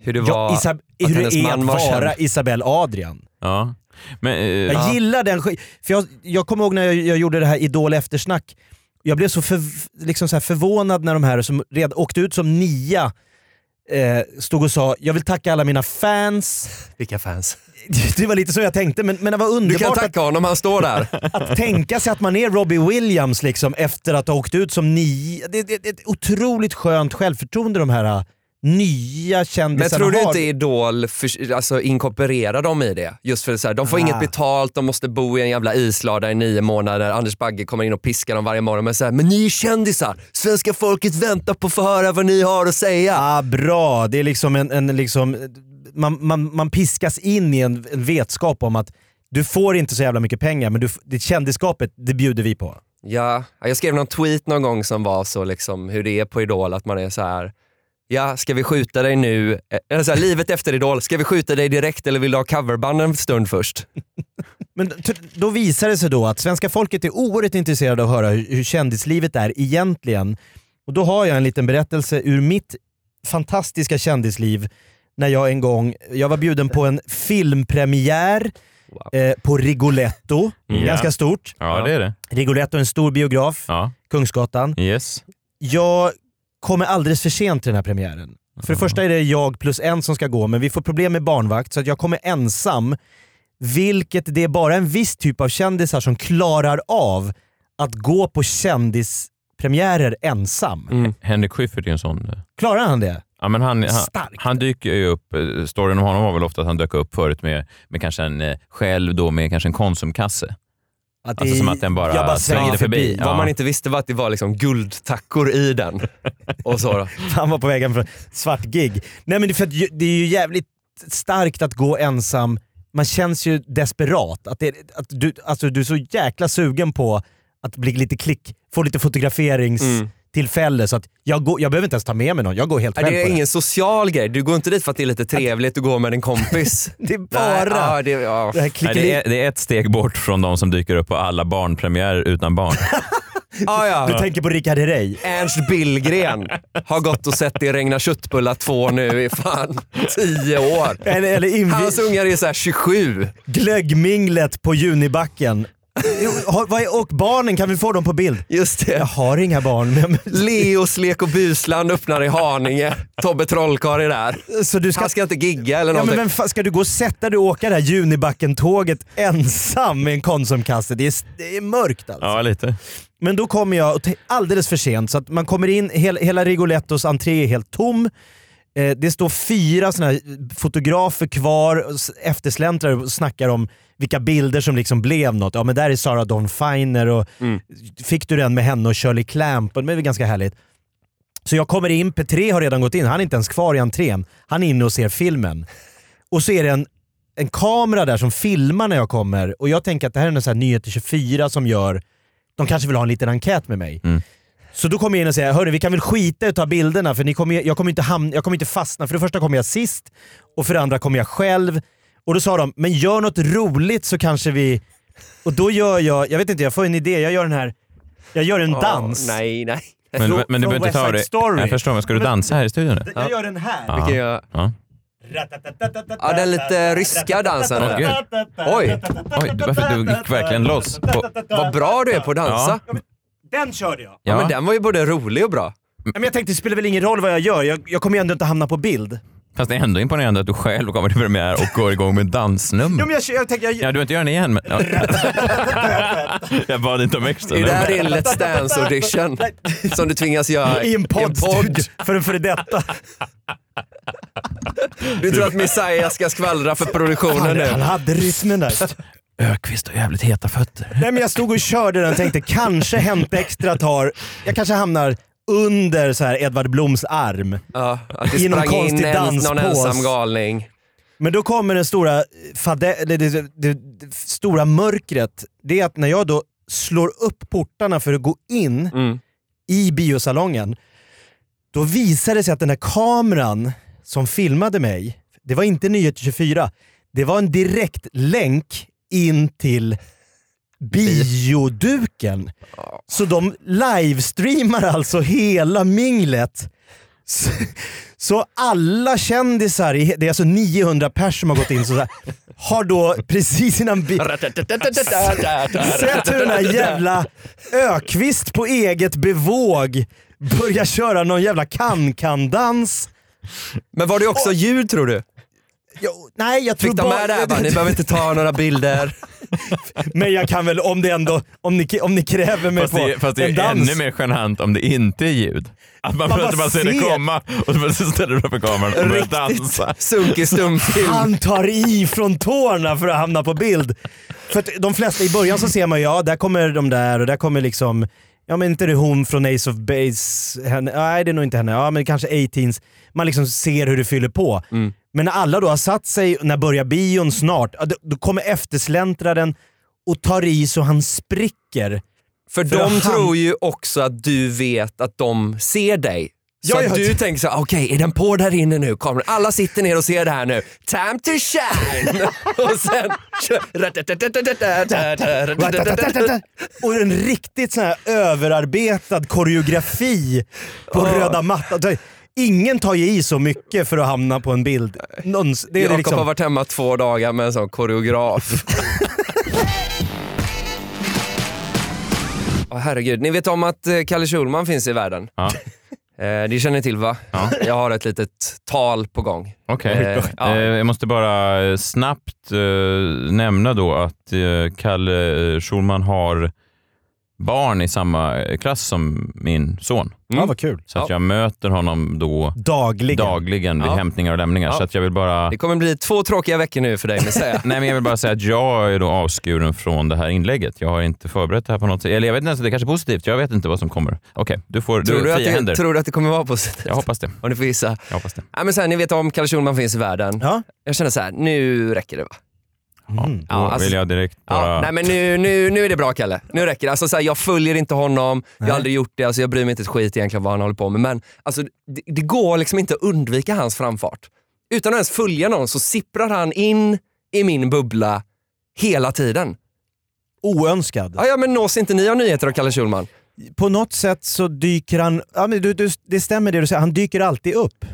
Speaker 6: hur det,
Speaker 7: var-
Speaker 8: Isab-
Speaker 7: att
Speaker 8: hur
Speaker 7: hennes
Speaker 8: det är
Speaker 7: man
Speaker 8: att
Speaker 7: var
Speaker 8: vara
Speaker 7: känd.
Speaker 8: Isabella Adrian.
Speaker 7: Ja. Men, eh,
Speaker 8: Jag
Speaker 7: ja.
Speaker 8: gillar den sk- för jag, jag kommer ihåg när jag, jag gjorde det här Idol eftersnack. Jag blev så, för, liksom så här förvånad när de här som red, åkte ut som nia eh, stod och sa “Jag vill tacka alla mina fans”. <laughs>
Speaker 6: Vilka fans?
Speaker 8: Det var lite så jag tänkte, men, men det var underbart
Speaker 6: Du kan tacka honom, han står där.
Speaker 8: <laughs> att tänka sig att man är Robbie Williams liksom, efter att ha åkt ut som nia. Det, det, det är ett otroligt skönt självförtroende de här eh, nya
Speaker 6: Men
Speaker 8: kändisarna
Speaker 6: tror du
Speaker 8: har.
Speaker 6: inte Idol för, alltså, inkorporerar dem i det? Just för så här, de får
Speaker 8: Ah.
Speaker 6: inget betalt, de måste bo i en jävla islada i nio månader. Anders Bagge kommer in och piskar dem varje morgon. Men, så här, men ni är kändisar! Svenska folket väntar på att få höra vad ni har att säga.
Speaker 8: Ah, bra, det är liksom en... en liksom, man, man, man piskas in i en, en vetskap om att du får inte så jävla mycket pengar, men du, f- det kändisskapet, det bjuder vi på.
Speaker 6: Ja, jag skrev någon tweet någon gång som var så liksom hur det är på Idol, att man är så här. Ja, ska vi skjuta dig nu? Eh, Eller så här, livet efter Idol, ska vi skjuta dig direkt eller vill du ha coverband en stund först?
Speaker 8: Men t- då visar det sig då att svenska folket är oerhört intresserade av att höra hur, hur kändislivet är egentligen. Och då har jag en liten berättelse ur mitt fantastiska kändisliv när jag en gång, jag var bjuden på en filmpremiär eh, på Rigoletto,
Speaker 7: Mm. Ja.
Speaker 8: ganska stort.
Speaker 7: Ja, det är det.
Speaker 8: Rigoletto är en stor biograf, Kungsgatan.
Speaker 7: Yes.
Speaker 8: Jag kommer alldeles för sent till den här premiären. För det första är det jag plus en som ska gå, men vi får problem med barnvakt så att jag kommer ensam. Vilket det är bara en viss typ av kändisar som klarar av att gå på kändis premiärer ensam.
Speaker 7: Henrik Schyffert är en sån.
Speaker 8: Klarar han det?
Speaker 7: Ja, men han, han,
Speaker 8: Starkt.
Speaker 7: han dyker ju upp. eh, Storyn om honom var väl ofta att han dök upp förut med, med kanske en, eh, själv då med kanske en Konsumkasse.
Speaker 8: Att
Speaker 7: alltså som att den bara, svängde förbi. Ja.
Speaker 6: Vad man inte visste var att det var liksom guldtackor i den. Och så då.
Speaker 8: <laughs> Han var på vägen för svart gig. Nej men det är, för att ju- det är ju jävligt starkt att gå ensam. Man känns ju desperat. Att det, att du, alltså, du är så jäkla sugen på att bli lite klick, få lite
Speaker 6: Mm.
Speaker 8: fotograferingstillfälle så att jag, går, jag behöver inte ens ta med mig någon. Jag går helt
Speaker 6: Ja,
Speaker 8: själv
Speaker 6: Det är
Speaker 8: på
Speaker 6: ingen social grej. Du går inte dit för att det är lite trevligt att gå med en kompis.
Speaker 8: <laughs> det är bara-
Speaker 6: Nej, ja, det, ja.
Speaker 8: Det här
Speaker 7: Nej, det, är, det är ett steg bort från de som dyker upp på alla barnpremiärer utan barn.
Speaker 8: <laughs>
Speaker 6: ja, ja.
Speaker 8: <laughs> Du tänker på Rickard Herrey.
Speaker 6: Ernst Billgren har gått och sett det regna köttbullar två nu i fan tio år.
Speaker 8: <laughs> Eller- eller invi-
Speaker 6: Hans ungar är så här 27.
Speaker 8: Glöggminglet
Speaker 6: <laughs>
Speaker 8: på Junibacken. Jo, har- vad är- Och barnen, kan vi få dem på bild?
Speaker 6: Just det.
Speaker 8: Jag har inga barn. men-
Speaker 6: Leos Lek och Busland öppnar i Haninge. Tobbe Trollkarl är där.
Speaker 8: Så du ska-
Speaker 6: Han ska inte gigga eller
Speaker 8: Ja, men
Speaker 6: någonting.
Speaker 8: vem fan, ska du gå och sätta dig och åka det här Junibacken-tåget ensam med en Konsumkasse? Det är, det är mörkt alltså.
Speaker 7: Ja, lite.
Speaker 8: Men då kommer jag och te- alldeles för sent så att man kommer in, hela, hela Rigolettos entré är helt tom. Eh, det står fyra såna här fotografer kvar, och s- eftersläntrare och snackar om vilka bilder som liksom blev något. Ja men där är Sarah Dawn Finer och fick du den med henne och Shirley Clamp? Och Det är väl ganska härligt. Så jag kommer in, P3 har redan gått in, han är inte ens kvar i entrén. Han är inne och ser filmen. Och så är det en, en kamera där som filmar när jag kommer och jag tänker att det här är en sån här Nyheter 24 som gör, de kanske vill ha en liten enkät med mig. Så då kommer jag in och säger, hörni vi kan väl skita i att ta bilderna för ni kommer, ju- jag, kommer inte hamna, jag kommer inte fastna. För det första kommer jag sist och för det andra kommer jag själv. Och då sa de, men gör något roligt så kanske vi... Och då gör jag, jag vet inte, jag får en idé, jag gör den här, jag gör en
Speaker 6: Åh,
Speaker 8: dans.
Speaker 6: nej, nej.
Speaker 7: Men,
Speaker 8: Från-
Speaker 7: men du
Speaker 8: från
Speaker 7: behöver inte
Speaker 8: West
Speaker 7: ta
Speaker 8: Side
Speaker 7: det.
Speaker 8: Story.
Speaker 7: Jag förstår, men ska du
Speaker 8: Men-
Speaker 7: dansa här i studion nu?
Speaker 8: Jag gör den här.
Speaker 7: Ja.
Speaker 6: Vilken jag-
Speaker 7: Ja.
Speaker 6: Ja, den lite ryska dansen.
Speaker 7: Åh, gud.
Speaker 6: där. Oj,
Speaker 7: Oj, du, varför, du gick verkligen loss. På,
Speaker 6: vad bra du är på att dansa. Ja.
Speaker 8: Den körde jag.
Speaker 7: ja.
Speaker 6: men den var ju både rolig och bra.
Speaker 8: Nej, Men jag tänkte det spelar väl ingen roll vad jag gör, jag, jag kommer ju ändå inte hamna på bild.
Speaker 7: Fast det är ändå imponerande att du själv kommer till premiär och går igång med dansnummer.
Speaker 8: Ja, men jag, jag, tänker, jag,
Speaker 7: Ja, du behöver inte göra den igen. Men,
Speaker 8: <laughs>
Speaker 7: ja. jag bad inte om extra
Speaker 6: Är det här
Speaker 7: nummer.
Speaker 6: din Let's
Speaker 8: <laughs>
Speaker 6: Dance-audition som du tvingas göra
Speaker 8: I en podd,
Speaker 6: i en podd?
Speaker 8: för en före <laughs> detta.
Speaker 6: Du tror att Messiah ska skvallra för produktionen
Speaker 8: Han,
Speaker 6: nu?
Speaker 8: han hade rytmen där.
Speaker 7: Ökvist och jävligt heta fötter.
Speaker 8: Nej men jag stod och körde den och tänkte kanske Hämta Extra tar, jag kanske hamnar under så här Edvard Bloms arm.
Speaker 6: Ja, att det
Speaker 8: I någon
Speaker 6: sprang in
Speaker 8: konstig
Speaker 6: en, någon
Speaker 8: danspås.
Speaker 6: ensam galning.
Speaker 8: Men då kommer den stora fade, eller det, det, det, det stora mörkret. Det är att när jag då slår upp portarna för att gå in
Speaker 6: Mm.
Speaker 8: i biosalongen, då visade det sig att den här kameran som filmade mig, det var inte Nyheter 24, det var en direkt länk in till bioduken. Så de livestreamar alltså hela minglet. Så, så alla kändisar, i- det är alltså 900 pers som har gått in, så så här, har då precis innan bi- sett hur den här jävla Ökvist på eget bevåg börjar köra någon jävla kan-kan-dans.
Speaker 6: Men var det också ljud tror du?
Speaker 8: Jag- Nej, jag tror
Speaker 6: Fick de med det här bara, ni behöver inte ta några bilder.
Speaker 8: <laughs> Men jag kan väl om det ändå, om ni, om ni kräver mig
Speaker 7: Fast
Speaker 8: på
Speaker 7: det, fast det
Speaker 8: en
Speaker 7: är
Speaker 8: dans.
Speaker 7: ännu mer genant om det inte är ljud. Att man,
Speaker 8: Man
Speaker 7: man
Speaker 8: bara
Speaker 7: bara ser det
Speaker 8: ser.
Speaker 7: komma och så bara ställer du framför kameran och börjar dansa.
Speaker 6: Sunkig stumfilm.
Speaker 8: Han tar i från tårna för att hamna på bild. För att de flesta i början så ser man ju, ja där kommer de där och där kommer liksom, ja men inte det hon från Ace of Base, henne, nej det är nog inte henne, ja men kanske 18s. Man liksom ser hur det fyller på. Men när alla då har satt sig, när börjar bion snart, ja, då, då kommer eftersläntraren och tar i så han spricker.
Speaker 6: För,
Speaker 8: För
Speaker 6: de
Speaker 8: han-
Speaker 6: tror ju också att du vet att de ser dig. Så
Speaker 8: Ja,
Speaker 6: att
Speaker 8: ja.
Speaker 6: du tänker så här, okej är den på där inne nu? Kameran. Alla sitter ner och ser det här nu. Time to shine! <laughs> och sen...
Speaker 8: Och en riktigt sån här överarbetad koreografi på röda mattan. Ingen tar ju i så mycket för att hamna på en bild. Någons, det är det
Speaker 6: Jakob har
Speaker 8: liksom.
Speaker 6: varit hemma två dagar med en sån <laughs> koreograf. Åh herregud, ni vet om att eh, Kalle Schulman finns i världen?
Speaker 7: Ja,
Speaker 6: Eh, det känner ni till va?
Speaker 7: Ja.
Speaker 6: Jag har ett litet tal på gång.
Speaker 7: okej.
Speaker 6: Eh, ja.
Speaker 7: Eh, Jag måste bara eh, snabbt eh, nämna då att eh, Kalle eh, Schulman har barn i samma eh, klass som min son.
Speaker 8: Mm. Ja, vad kul.
Speaker 7: Så att jag möter honom då
Speaker 8: dagligen,
Speaker 7: dagligen vid
Speaker 6: Ja.
Speaker 7: hämtningar och lämningar.
Speaker 6: Ja.
Speaker 7: Så att jag vill bara...
Speaker 6: Det kommer bli två tråkiga veckor nu för dig med säga.
Speaker 7: Nej, men jag vill bara säga att jag är då avskuren från det här inlägget. Jag har inte förberett det här på något sätt. Eller jag vet inte, ens, det är kanske är positivt. Jag vet inte vad som kommer. Okej, du får
Speaker 6: Tror du,
Speaker 7: fria
Speaker 6: att
Speaker 7: händer.
Speaker 6: det, tror du att det kommer vara positivt?
Speaker 7: Jag hoppas det.
Speaker 6: Om du får gissa.
Speaker 7: Jag hoppas det.
Speaker 6: Ja, men så här, ni vet om Kalle Schulman finns i världen. Jag känner så här, nu räcker det va?
Speaker 7: Ja,
Speaker 6: Ja,
Speaker 7: då
Speaker 6: alltså-
Speaker 7: vill jag direkt bara...
Speaker 6: Ja, nej men nu, nu, nu är det bra Kalle. Nu räcker det. Alltså, så här, jag följer inte honom, jag har aldrig gjort det, alltså, jag bryr mig inte ett skit egentligen vad han håller på med. Men alltså, det, det går liksom inte att undvika hans framfart. Utan att ens följa någon så sipprar han in i min bubbla hela tiden.
Speaker 8: Oönskad.
Speaker 6: Ja, ja men nås inte ni av nyheter av Kalle Schulman?
Speaker 8: På något sätt så dyker han, ja, men du, du, det stämmer det du säger, han dyker alltid upp.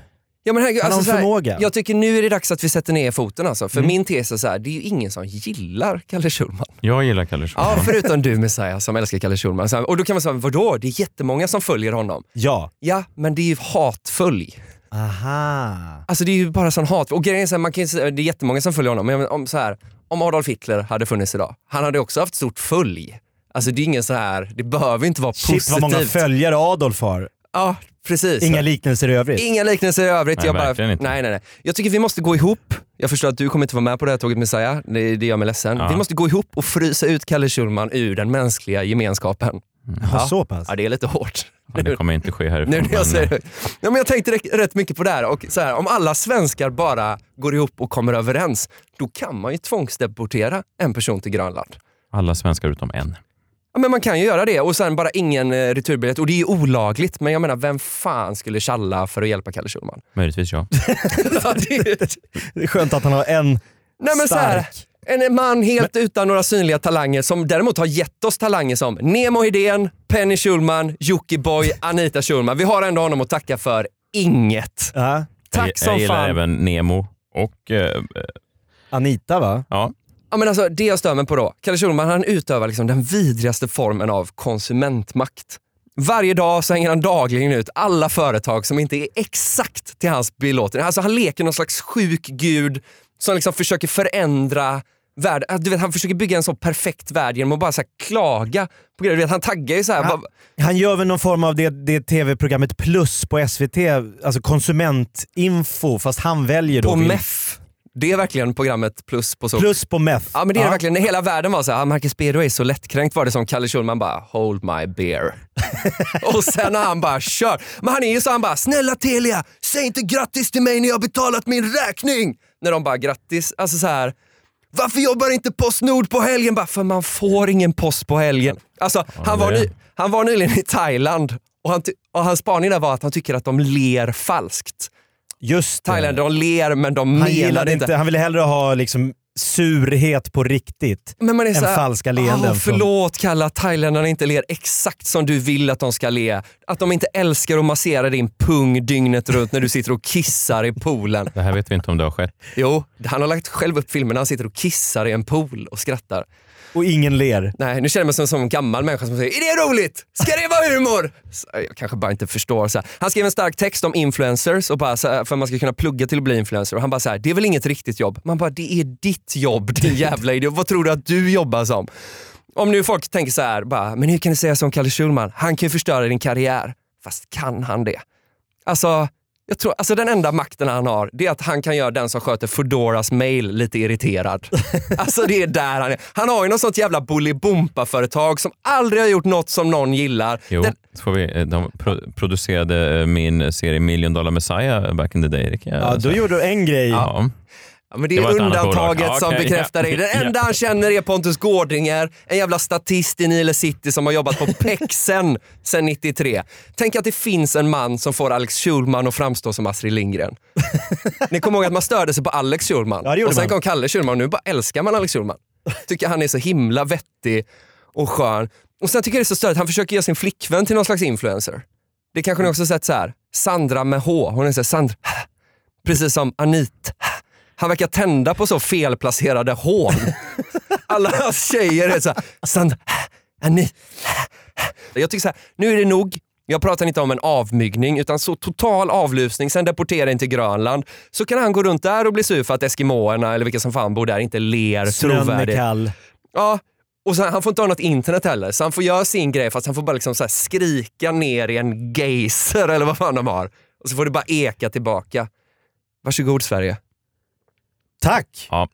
Speaker 6: Ja, men herregud,
Speaker 8: Han har
Speaker 6: alltså, så
Speaker 8: en
Speaker 6: här,
Speaker 8: förmåga.
Speaker 6: Jag tycker nu är det dags att vi sätter ner foten alltså. För min tes är så här, det är ju ingen som gillar Kalle Schulman.
Speaker 7: Jag gillar Kalle Schulman.
Speaker 6: Ja, förutom du Messiah som älskar Kalle Schulman. Så här, Och då kan man säga, vadå? Det är jättemånga som följer honom.
Speaker 8: Ja.
Speaker 6: Ja, men det är ju hatfölj.
Speaker 8: Aha.
Speaker 6: Alltså det är ju bara sån hat. Och grejen är så här, man kan ju, säga- det är jättemånga som följer honom, men om, så här, om Adolf Hitler hade funnits idag, han hade också haft stort följ. Alltså det är ingen så här, det behöver inte vara
Speaker 8: Shit
Speaker 6: positivt.
Speaker 8: vad många följare Adolf har.
Speaker 6: Ja, precis.
Speaker 8: Inga liknelser i övrigt.
Speaker 6: Inga liknelser i övrigt.
Speaker 8: Nej,
Speaker 6: jag, bara,
Speaker 8: verkligen
Speaker 6: nej,
Speaker 8: inte.
Speaker 6: nej, nej. jag tycker vi måste gå ihop. Jag förstår att du kommer inte vara med på det här tåget Messiah, det, det gör mig ledsen.
Speaker 8: Ja.
Speaker 6: Vi måste gå ihop och frysa ut Kalle Schulman ur den mänskliga gemenskapen.
Speaker 8: Ja, så pass.
Speaker 6: Ja, det är lite hårt.
Speaker 7: Ja, det kommer inte ske härifrån.
Speaker 6: Nu när jag
Speaker 7: men-
Speaker 6: säger det. Ja, men jag tänkte rätt- rätt mycket på det här. Och så här. Om alla svenskar bara går ihop och kommer överens, då kan man ju tvångsdeportera en person till Grönland.
Speaker 7: Alla svenskar utom en.
Speaker 6: Ja, men man kan ju göra det och sen bara ingen eh, returbiljett. Och det är ju olagligt, men jag menar vem fan skulle tjalla för att hjälpa Kalle Schulman?
Speaker 7: Möjligtvis jag.
Speaker 6: <laughs> Ja, det är-
Speaker 8: Det är skönt att han har en
Speaker 6: Nej, men så här,
Speaker 8: stark.
Speaker 6: en man helt utan några synliga talanger som däremot har gett oss talanger som Nemo Hedén, Penny Schulman, Jockiboi, Anita Schulman. Vi har ändå honom att tacka för inget.
Speaker 7: Jag-
Speaker 6: Tack som
Speaker 7: Jag gillar
Speaker 6: fan.
Speaker 7: även Nemo och... Eh,
Speaker 8: Anita va?
Speaker 7: Ja.
Speaker 6: Ja, men alltså, det jag stör mig på då, Kalle Schulman han utövar liksom den vidrigaste formen av konsumentmakt. Varje dag så hänger han dagligen ut alla företag som inte är exakt till hans belåtenhet. Alltså han leker någon slags sjuk gud som liksom försöker förändra världen. Alltså, Du vet, han försöker bygga en så perfekt värld genom att bara så här klaga på grejer. Du vet, han taggar ju så här. bara-
Speaker 8: Han gör väl någon form av det, det tv-programmet Plus på SVT, alltså konsumentinfo, fast han väljer då...
Speaker 6: På
Speaker 8: vil-
Speaker 6: MEF. Det är verkligen programmet plus på så.
Speaker 8: Plus på MEF.
Speaker 6: Ja men det är det verkligen. När hela världen var så här, "Ah, Marcus Birro är så lättkränkt var det som Kalle Schulman bara, hold my beer. och sen har han bara kör. Men han är ju så han bara, snälla Telia, säg inte grattis till mig när jag har betalat min räkning. När de bara, grattis, alltså så här. Varför jobbar inte Postnord på helgen? Bara, för man får ingen post på helgen. Alltså, han, var
Speaker 7: det-
Speaker 6: ny, han var nyligen i Thailand och, han ty- och hans spaning där var att han tycker att de ler falskt.
Speaker 8: Just
Speaker 6: Thailand, de ler men de
Speaker 8: Han
Speaker 6: menar
Speaker 8: gillade
Speaker 6: inte.
Speaker 8: inte, han ville hellre ha liksom surhet på riktigt
Speaker 6: Men man är
Speaker 8: än
Speaker 6: så här,
Speaker 8: falska leenden.
Speaker 6: "Åh, förlåt Kalle att thailändarna inte ler exakt som du vill att de ska le. Att de inte älskar att massera din pung dygnet runt när du sitter och kissar i poolen.
Speaker 7: det här vet vi inte om det har skett.
Speaker 6: Jo, han har lagt själv upp filmen när han sitter och kissar i en pool och skrattar.
Speaker 8: Och ingen ler.
Speaker 6: Nej, nu känner jag mig som, som en gammal människa som säger “Är det roligt? Ska det vara humor?” så, eh, Jag kanske bara inte förstår. Så här. Han skrev en stark text om influencers och bara, så här, för att man ska kunna plugga till att bli influencer. Och han bara så här, “Det är väl inget riktigt jobb?” Man bara “Det är ditt jobb din jävla idiot. Vad tror du att du jobbar som?” Om nu folk tänker så här, bara, “Men hur kan du säga som Kalle Schulman? Han kan ju förstöra din karriär.” Fast kan han det? Alltså, jag tror, alltså den enda makten han har, det är att han kan göra den som sköter Foodoras mail lite irriterad. Alltså det är där han är. Han har ju något sånt jävla Bolibompa-företag som aldrig har gjort något som någon gillar.
Speaker 7: Jo,
Speaker 6: Den,
Speaker 7: så får vi, eh, de pro- producerade eh, min serie Million Dollar Messiah back in the day. Det kan jag
Speaker 8: Ja, då
Speaker 7: säga.
Speaker 8: gjorde du en grej.
Speaker 7: Ja.
Speaker 6: ja, men det
Speaker 7: Det var
Speaker 6: är
Speaker 7: ett annat
Speaker 6: undantaget
Speaker 7: bolag.
Speaker 6: som
Speaker 7: Okej,
Speaker 6: bekräftar
Speaker 7: <laughs>
Speaker 6: det.
Speaker 7: ja.
Speaker 6: Den enda han känner är Pontus Gårdinger, en jävla statist i Nile City som har jobbat
Speaker 7: <laughs>
Speaker 6: på Pexen sedan 93. Tänk att det finns en man som får Alex Schulman att framstå som Astrid Lindgren. Ni kommer ihåg att man störde sig på Alex Schulman.
Speaker 8: Ja, det gjorde
Speaker 6: och sen
Speaker 8: man.
Speaker 6: kom Kalle Schulman och nu bara älskar man Alex Schulman. Tycker han är så himla vettig och skön. Och sen tycker jag det är så störigt, han försöker göra sin flickvän till någon slags influencer. Det kanske ni också sett så här. Sandra med H, hon är så här, Sandra, <laughs> precis som Anit. Han verkar tända på så felplacerade hån. Alla hans tjejer är så här, Sandra, Anit. Jag tycker så här, nu är det nog. Jag pratar inte om en avmygning, utan så total avlusning, sen deportering till Grönland. Så kan han gå runt där och bli sur för att eskimåerna, eller vilka som fan bor där, inte ler
Speaker 8: Snön är
Speaker 6: trovärdigt.
Speaker 8: kall.
Speaker 6: Ja, Och sen, han får inte ha något internet heller, så han får göra sin grej fast han får bara liksom så här skrika ner i en geyser eller vad fan de har. Och så får det bara eka tillbaka. Varsågod Sverige.
Speaker 8: Tack!
Speaker 7: Ja.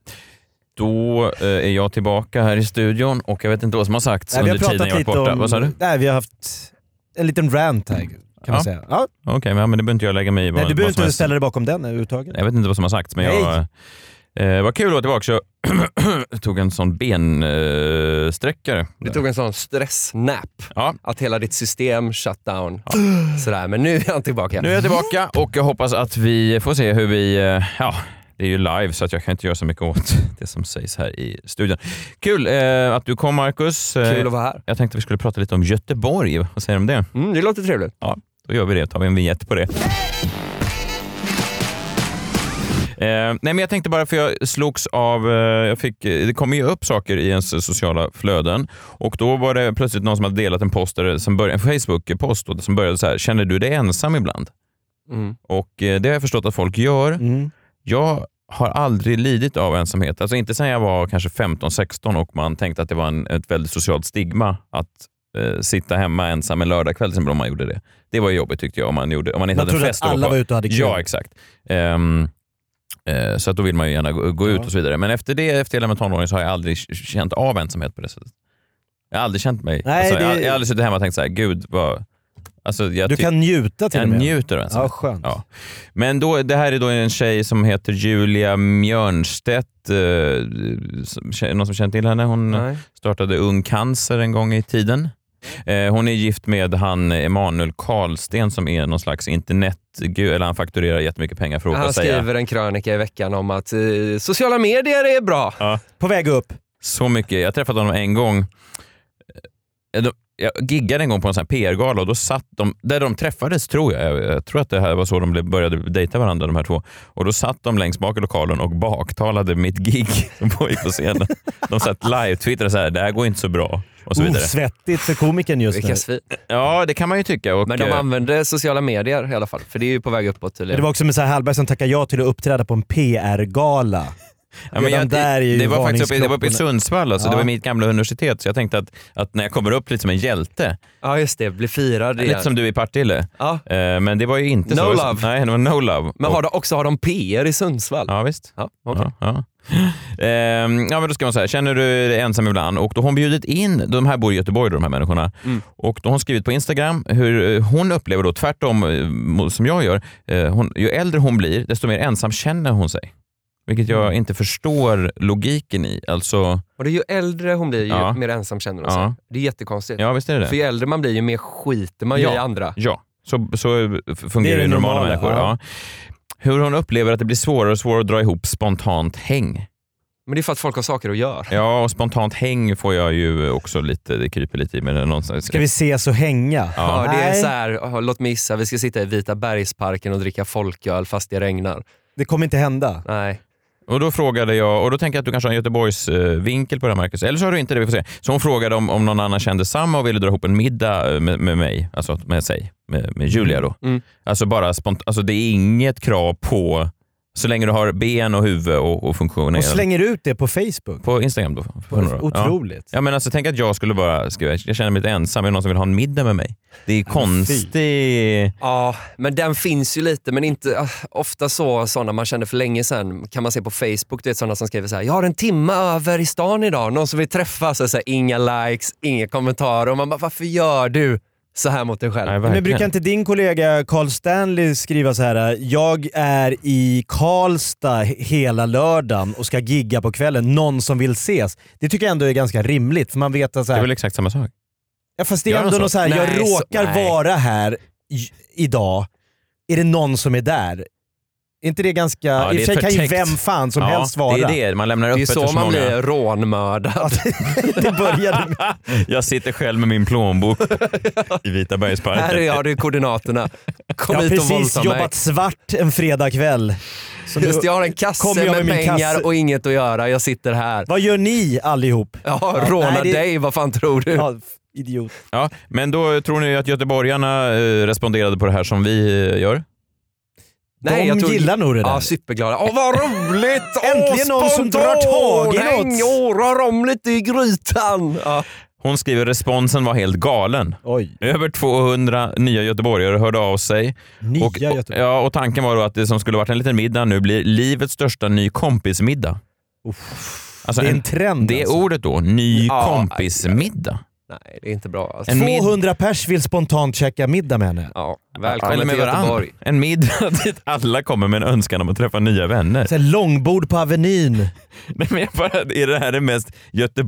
Speaker 7: Då eh, är jag tillbaka här i studion och jag vet inte vad som har sagts
Speaker 8: Nej, vi har
Speaker 7: under tiden
Speaker 8: pratat
Speaker 7: jag varit
Speaker 8: lite
Speaker 7: borta.
Speaker 8: om...
Speaker 7: Vad sa du?
Speaker 8: Nej, vi har haft en liten rant här kan man säga. Ja.
Speaker 7: Okej, men- ja, men det behöver inte jag lägga mig i. vad-
Speaker 8: Nej, du
Speaker 7: vad
Speaker 8: behöver
Speaker 7: som
Speaker 8: inte
Speaker 7: helst.
Speaker 8: ställa dig bakom den överhuvudtaget.
Speaker 7: Jag vet inte vad som har sagts, men jag... Eh, vad kul att vara tillbaka. Så <clears throat> jag tog en sån bensträckare. Eh, sträckare.
Speaker 6: Du tog en sån stressnap. Att hela ditt system shut down.
Speaker 7: <gasps>
Speaker 6: Sådär, men nu är han tillbaka.
Speaker 7: Nu är jag tillbaka och jag hoppas att vi får se hur vi... eh, Ja, det är ju live så att jag kan inte göra så mycket åt det som sägs här i studion. Kul eh, att du kom Marcus. Eh,
Speaker 6: Kul att vara här.
Speaker 7: Jag tänkte vi skulle prata lite om Göteborg. Vad säger du om det?
Speaker 6: Mm, det låter trevligt.
Speaker 7: Ja, då gör vi det. Tar vi en vignett på det. Eh, nej men jag tänkte bara, för jag slogs av... Eh, jag fick, eh, det kommer ju upp saker i ens sociala flöden och då var det plötsligt någon som hade delat en post, där, som började, en Facebook-post då, som började så här, känner du dig ensam ibland?
Speaker 6: Mm.
Speaker 7: Och eh, det har jag förstått att folk gör.
Speaker 8: Mm.
Speaker 7: Jag har aldrig lidit av ensamhet. Alltså inte sen jag var kanske 15-16 och man tänkte att det var en, ett väldigt socialt stigma att eh, sitta hemma ensam en lördagkväll till exempel om man gjorde det. Det var jobbigt tyckte jag om man, gjorde, om man inte
Speaker 8: Man
Speaker 7: hade en
Speaker 8: trodde
Speaker 7: fest.
Speaker 8: att
Speaker 7: att
Speaker 8: alla
Speaker 7: vara på.
Speaker 8: var ute och hade kul.
Speaker 7: Ja, exakt. Ehm, eh, så att då vill man ju gärna gå, gå ut och så vidare. Men efter det, efter hela min tonåring så har jag aldrig k- känt av ensamhet på det sättet. Jag har aldrig känt mig...
Speaker 8: Nej,
Speaker 7: alltså, jag,
Speaker 8: det-
Speaker 7: jag har aldrig suttit hemma och tänkt så här, gud vad... Alltså, jag
Speaker 8: Du
Speaker 7: ty-
Speaker 8: kan njuta till
Speaker 7: jag
Speaker 8: och med.
Speaker 7: njuter av ensamhet.
Speaker 8: Ja, skönt.
Speaker 7: Ja. Men då, det här är då en tjej som heter Julia Mjörnstedt. Eh, som- tjej- någon som känner till henne? Hon
Speaker 6: Nej.
Speaker 7: startade Ung Cancer en gång i tiden. Eh, hon är gift med han Emanuel Karlsten som är någon slags internetgud, eller han fakturerar jättemycket pengar för att åka
Speaker 6: Han
Speaker 7: och säga.
Speaker 6: skriver en krönika i veckan om att eh, sociala medier är bra.
Speaker 7: Alltså,
Speaker 8: På väg upp.
Speaker 7: Så mycket. Jag träffade honom en gång. Eh, då- Jag giggade en gång på en sån här PR-gala och då satt de, där de träffades tror jag, jag, jag tror att det här var så de blev- började dejta varandra de här två. Och då satt de längst bak i lokalen och baktalade mitt gig <laughs> som pågick på scenen. De satt live-twittrade så här, det här går inte så bra och så vidare.
Speaker 8: Osvettigt för komikern just nu.
Speaker 6: Vilka svin.
Speaker 7: Ja, det kan man ju tycka. Och,
Speaker 6: Men de
Speaker 7: eh,
Speaker 6: använder sociala medier i alla fall, för det är ju på väg uppåt
Speaker 8: Men
Speaker 6: tydligen.
Speaker 8: det var också med så här Hallberg som tackade ja till att uppträda på en PR-gala.
Speaker 7: Ja, men
Speaker 8: Redan
Speaker 7: jag,
Speaker 8: där är ju
Speaker 7: det var faktiskt uppe, det var uppe i
Speaker 8: varningsklockorna.
Speaker 7: Sundsvall, alltså.
Speaker 8: Ja.
Speaker 7: det var mitt gamla universitet, så jag tänkte att, att när jag kommer upp lite som en hjälte,
Speaker 6: Ja just det, bli firad igen.
Speaker 7: lite som du i Partille,
Speaker 6: Ja.
Speaker 7: Eh, men det var ju inte
Speaker 6: No
Speaker 7: så.
Speaker 6: love.
Speaker 7: Nej, det var no love.
Speaker 6: Men har de, också har de PR i Sundsvall?
Speaker 7: Ja, visst.
Speaker 6: Ja, okej.
Speaker 7: Ja, ja. Ehm, ja, men då ska man säga, känner du dig ensam ibland? Och då har hon bjudit in, de här bor i Göteborg då, de här människorna,
Speaker 6: Mm.
Speaker 7: och då har hon skrivit på Instagram hur eh, hon upplever då, tvärtom eh, mot som jag gör, eh, hon, ju äldre hon blir, desto mer ensam känner hon sig. Vilket
Speaker 6: Mm.
Speaker 7: jag inte förstår logiken i. Alltså,
Speaker 6: Och det är ju äldre hon blir, ju
Speaker 7: Ja.
Speaker 6: mer ensam känner hon sig.
Speaker 7: Ja.
Speaker 6: Det är jättekonstigt.
Speaker 7: ja, visst är det det?
Speaker 6: För ju äldre man blir, ju mer skiter man
Speaker 7: Ja.
Speaker 6: ju i andra.
Speaker 7: Ja, så, så
Speaker 8: Det är
Speaker 7: fungerar
Speaker 8: det
Speaker 7: ju normala,
Speaker 8: normala,
Speaker 7: människor.
Speaker 8: ja.
Speaker 7: Ja. Hur hon upplever att det blir svårare och svårare att dra ihop spontant häng.
Speaker 6: Men det är för att folk har saker att göra.
Speaker 7: Ja, och spontant häng får jag ju också lite, det kryper lite i mig. Någonstans.
Speaker 8: Ska vi ses och hänga?
Speaker 6: Ja, det är
Speaker 8: Nej,
Speaker 6: så här, "Åh, låt mig gissa, vi ska sitta i Vita bergsparken och dricka folköl fast det regnar.
Speaker 8: det kommer inte hända.
Speaker 6: Nej.
Speaker 7: Och då frågade jag, och då tänker jag att du kanske har en Göteborgs eh, vinkel på det här Marcus, eller så har du inte det, vi får se. Så hon frågade om, om någon annan kände samma och ville dra ihop en middag eh, med, med mig, alltså med sig, med, med Julia då.
Speaker 6: Mm.
Speaker 7: Alltså bara spont- alltså det är inget krav på, så länge du har ben och huvud och, och funktioner.
Speaker 8: Och slänger ut det på Facebook.
Speaker 7: På Instagram då? för några år. Ja.
Speaker 8: Otroligt.
Speaker 7: Ja, men alltså, tänk att jag skulle bara skriva, jag känner mig lite ensam, är det någon som vill ha en middag med mig? Det är konstigt.
Speaker 6: Ja, men den finns ju lite, men inte ah, ofta så sådana man kände för länge sedan kan man se på Facebook. Det är sådana som skriver så här: jag har en timme över i stan idag, någon som vill träffas. Och så här, inga likes, inga kommentarer. Och man bara, varför gör du så här mot dig själv?
Speaker 7: Nej,
Speaker 8: Men
Speaker 7: verkligen.
Speaker 8: brukar inte din kollega Carl Stanley skriva så här “Jag är i Karlstad hela lördagen och ska gigga på kvällen, någon som vill ses?” Det tycker jag ändå är ganska rimligt, för man vet att så
Speaker 7: Det är väl
Speaker 8: här,
Speaker 7: exakt samma sak?
Speaker 8: ja, fast det är
Speaker 7: gör
Speaker 8: ändå
Speaker 7: han
Speaker 8: något
Speaker 7: så?
Speaker 8: så här, “Jag
Speaker 6: Nej, så-
Speaker 8: råkar
Speaker 6: nej.
Speaker 8: vara här i- idag, är det någon som är där?” Är inte det ganska...
Speaker 7: Ja,
Speaker 8: I
Speaker 7: det
Speaker 8: och
Speaker 7: är
Speaker 8: för sig kan ju
Speaker 7: förtäckt.
Speaker 8: vem fan som helst vara.
Speaker 7: Det är det, man lämnar
Speaker 6: Det är ju
Speaker 7: öppet för
Speaker 6: så
Speaker 7: så
Speaker 6: man
Speaker 7: många. Alltså,
Speaker 6: blir rånmördad.
Speaker 8: <laughs> det började med...
Speaker 7: <laughs> Jag sitter själv med min plånbok i Vita bergsparken.
Speaker 6: Här har du koordinaterna. Kom
Speaker 8: Jag har
Speaker 6: hit och
Speaker 8: precis
Speaker 6: våldta mig.
Speaker 8: jobbat svart en fredagkväll. Så
Speaker 6: Just
Speaker 8: nu-
Speaker 6: det, jag har en
Speaker 8: Kommer
Speaker 6: kasse
Speaker 8: jag
Speaker 6: med,
Speaker 8: med min
Speaker 6: pengar
Speaker 8: kasse?
Speaker 6: och inget att göra. Jag sitter här.
Speaker 8: Vad gör ni allihop?
Speaker 6: Ja, råna
Speaker 8: nej, det-
Speaker 6: dig, vad fan tror du?
Speaker 8: Ja, f- idiot.
Speaker 7: Ja, men då tror ni att göteborgarna eh, responderade på det här som vi eh, gör?
Speaker 6: Nej,
Speaker 8: De
Speaker 6: jag tror-
Speaker 8: gillar nog det där.
Speaker 6: Ja, superglada. Åh, vad roligt!
Speaker 8: <laughs> Äntligen någon som drar tag i något.
Speaker 6: något! Årar om lite i grytan! Ja.
Speaker 7: Hon skriver responsen var helt galen. Över 200 nya göteborgare hörde av sig.
Speaker 8: Nya
Speaker 7: och,
Speaker 8: Göteborg.
Speaker 7: Ja, och tanken var då att det som skulle varit en liten middag nu blir livets största ny kompismiddag. Alltså
Speaker 8: Det är en trend,
Speaker 7: Det är
Speaker 8: alltså.
Speaker 7: ordet då, ny
Speaker 8: Ja,
Speaker 7: kompismiddag.
Speaker 6: Nej, det är inte bra. Alltså.
Speaker 7: En mid-
Speaker 8: 200 pers vill spontant käka middag med henne.
Speaker 6: Ja,
Speaker 7: Eller med varann. En middag <laughs> dit alla kommer med en önskan om att träffa nya vänner.
Speaker 8: Så här långbord på Avenyn.
Speaker 7: Nej, men jag bara, är det här det mest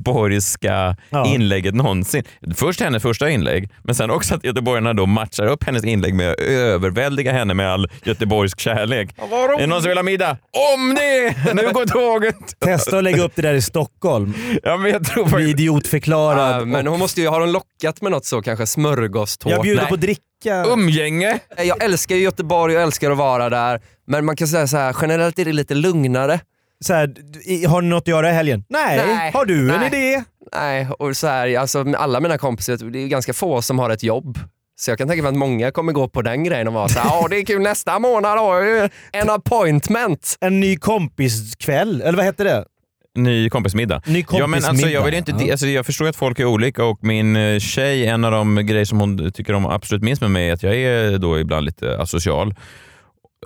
Speaker 7: göteborgska inlägget någonsin? Först hennes första inlägg, men sen också att göteborgarna då matchar upp hennes inlägg med att överväldiga henne med all göteborgsk kärlek.
Speaker 11: vad
Speaker 7: Är det någon som vill ha middag? Om det! Nu går tåget!
Speaker 8: Testa att lägga upp det där i Stockholm.
Speaker 7: Ja, men jag tror faktiskt...
Speaker 8: Idiotförklarad.
Speaker 6: Ja, Äh, men hon måste ju, har hon lockat med något så kanske? Smörgåstårta?
Speaker 8: Jag bjuder
Speaker 6: Nej.
Speaker 8: på dricka.
Speaker 7: Um. Umgänge?
Speaker 6: Jag älskar ju Göteborg och älskar att vara där. Men man kan säga så här, generellt är det lite lugnare.
Speaker 8: Så här, i- har ni något att göra i helgen? Nej. Har du en
Speaker 6: Nej.
Speaker 8: idé?
Speaker 6: Nej, och så här, alltså, med alla mina kompisar, det är ju ganska få som har ett jobb. Så jag kan tänka mig att många kommer gå på den grejen och vara så här, ja det är kul nästa månad har jag ju en appointment.
Speaker 8: En ny kompiskväll, eller vad hette det?
Speaker 7: Ny kompismiddag.
Speaker 8: Ny
Speaker 7: Ja, men alltså, jag, vill inte,
Speaker 8: kompismiddag. Ja.
Speaker 7: alltså, jag förstår att folk är olika och min eh, tjej, en av de grejer som hon tycker om absolut minst med mig är att jag är då ibland lite asocial.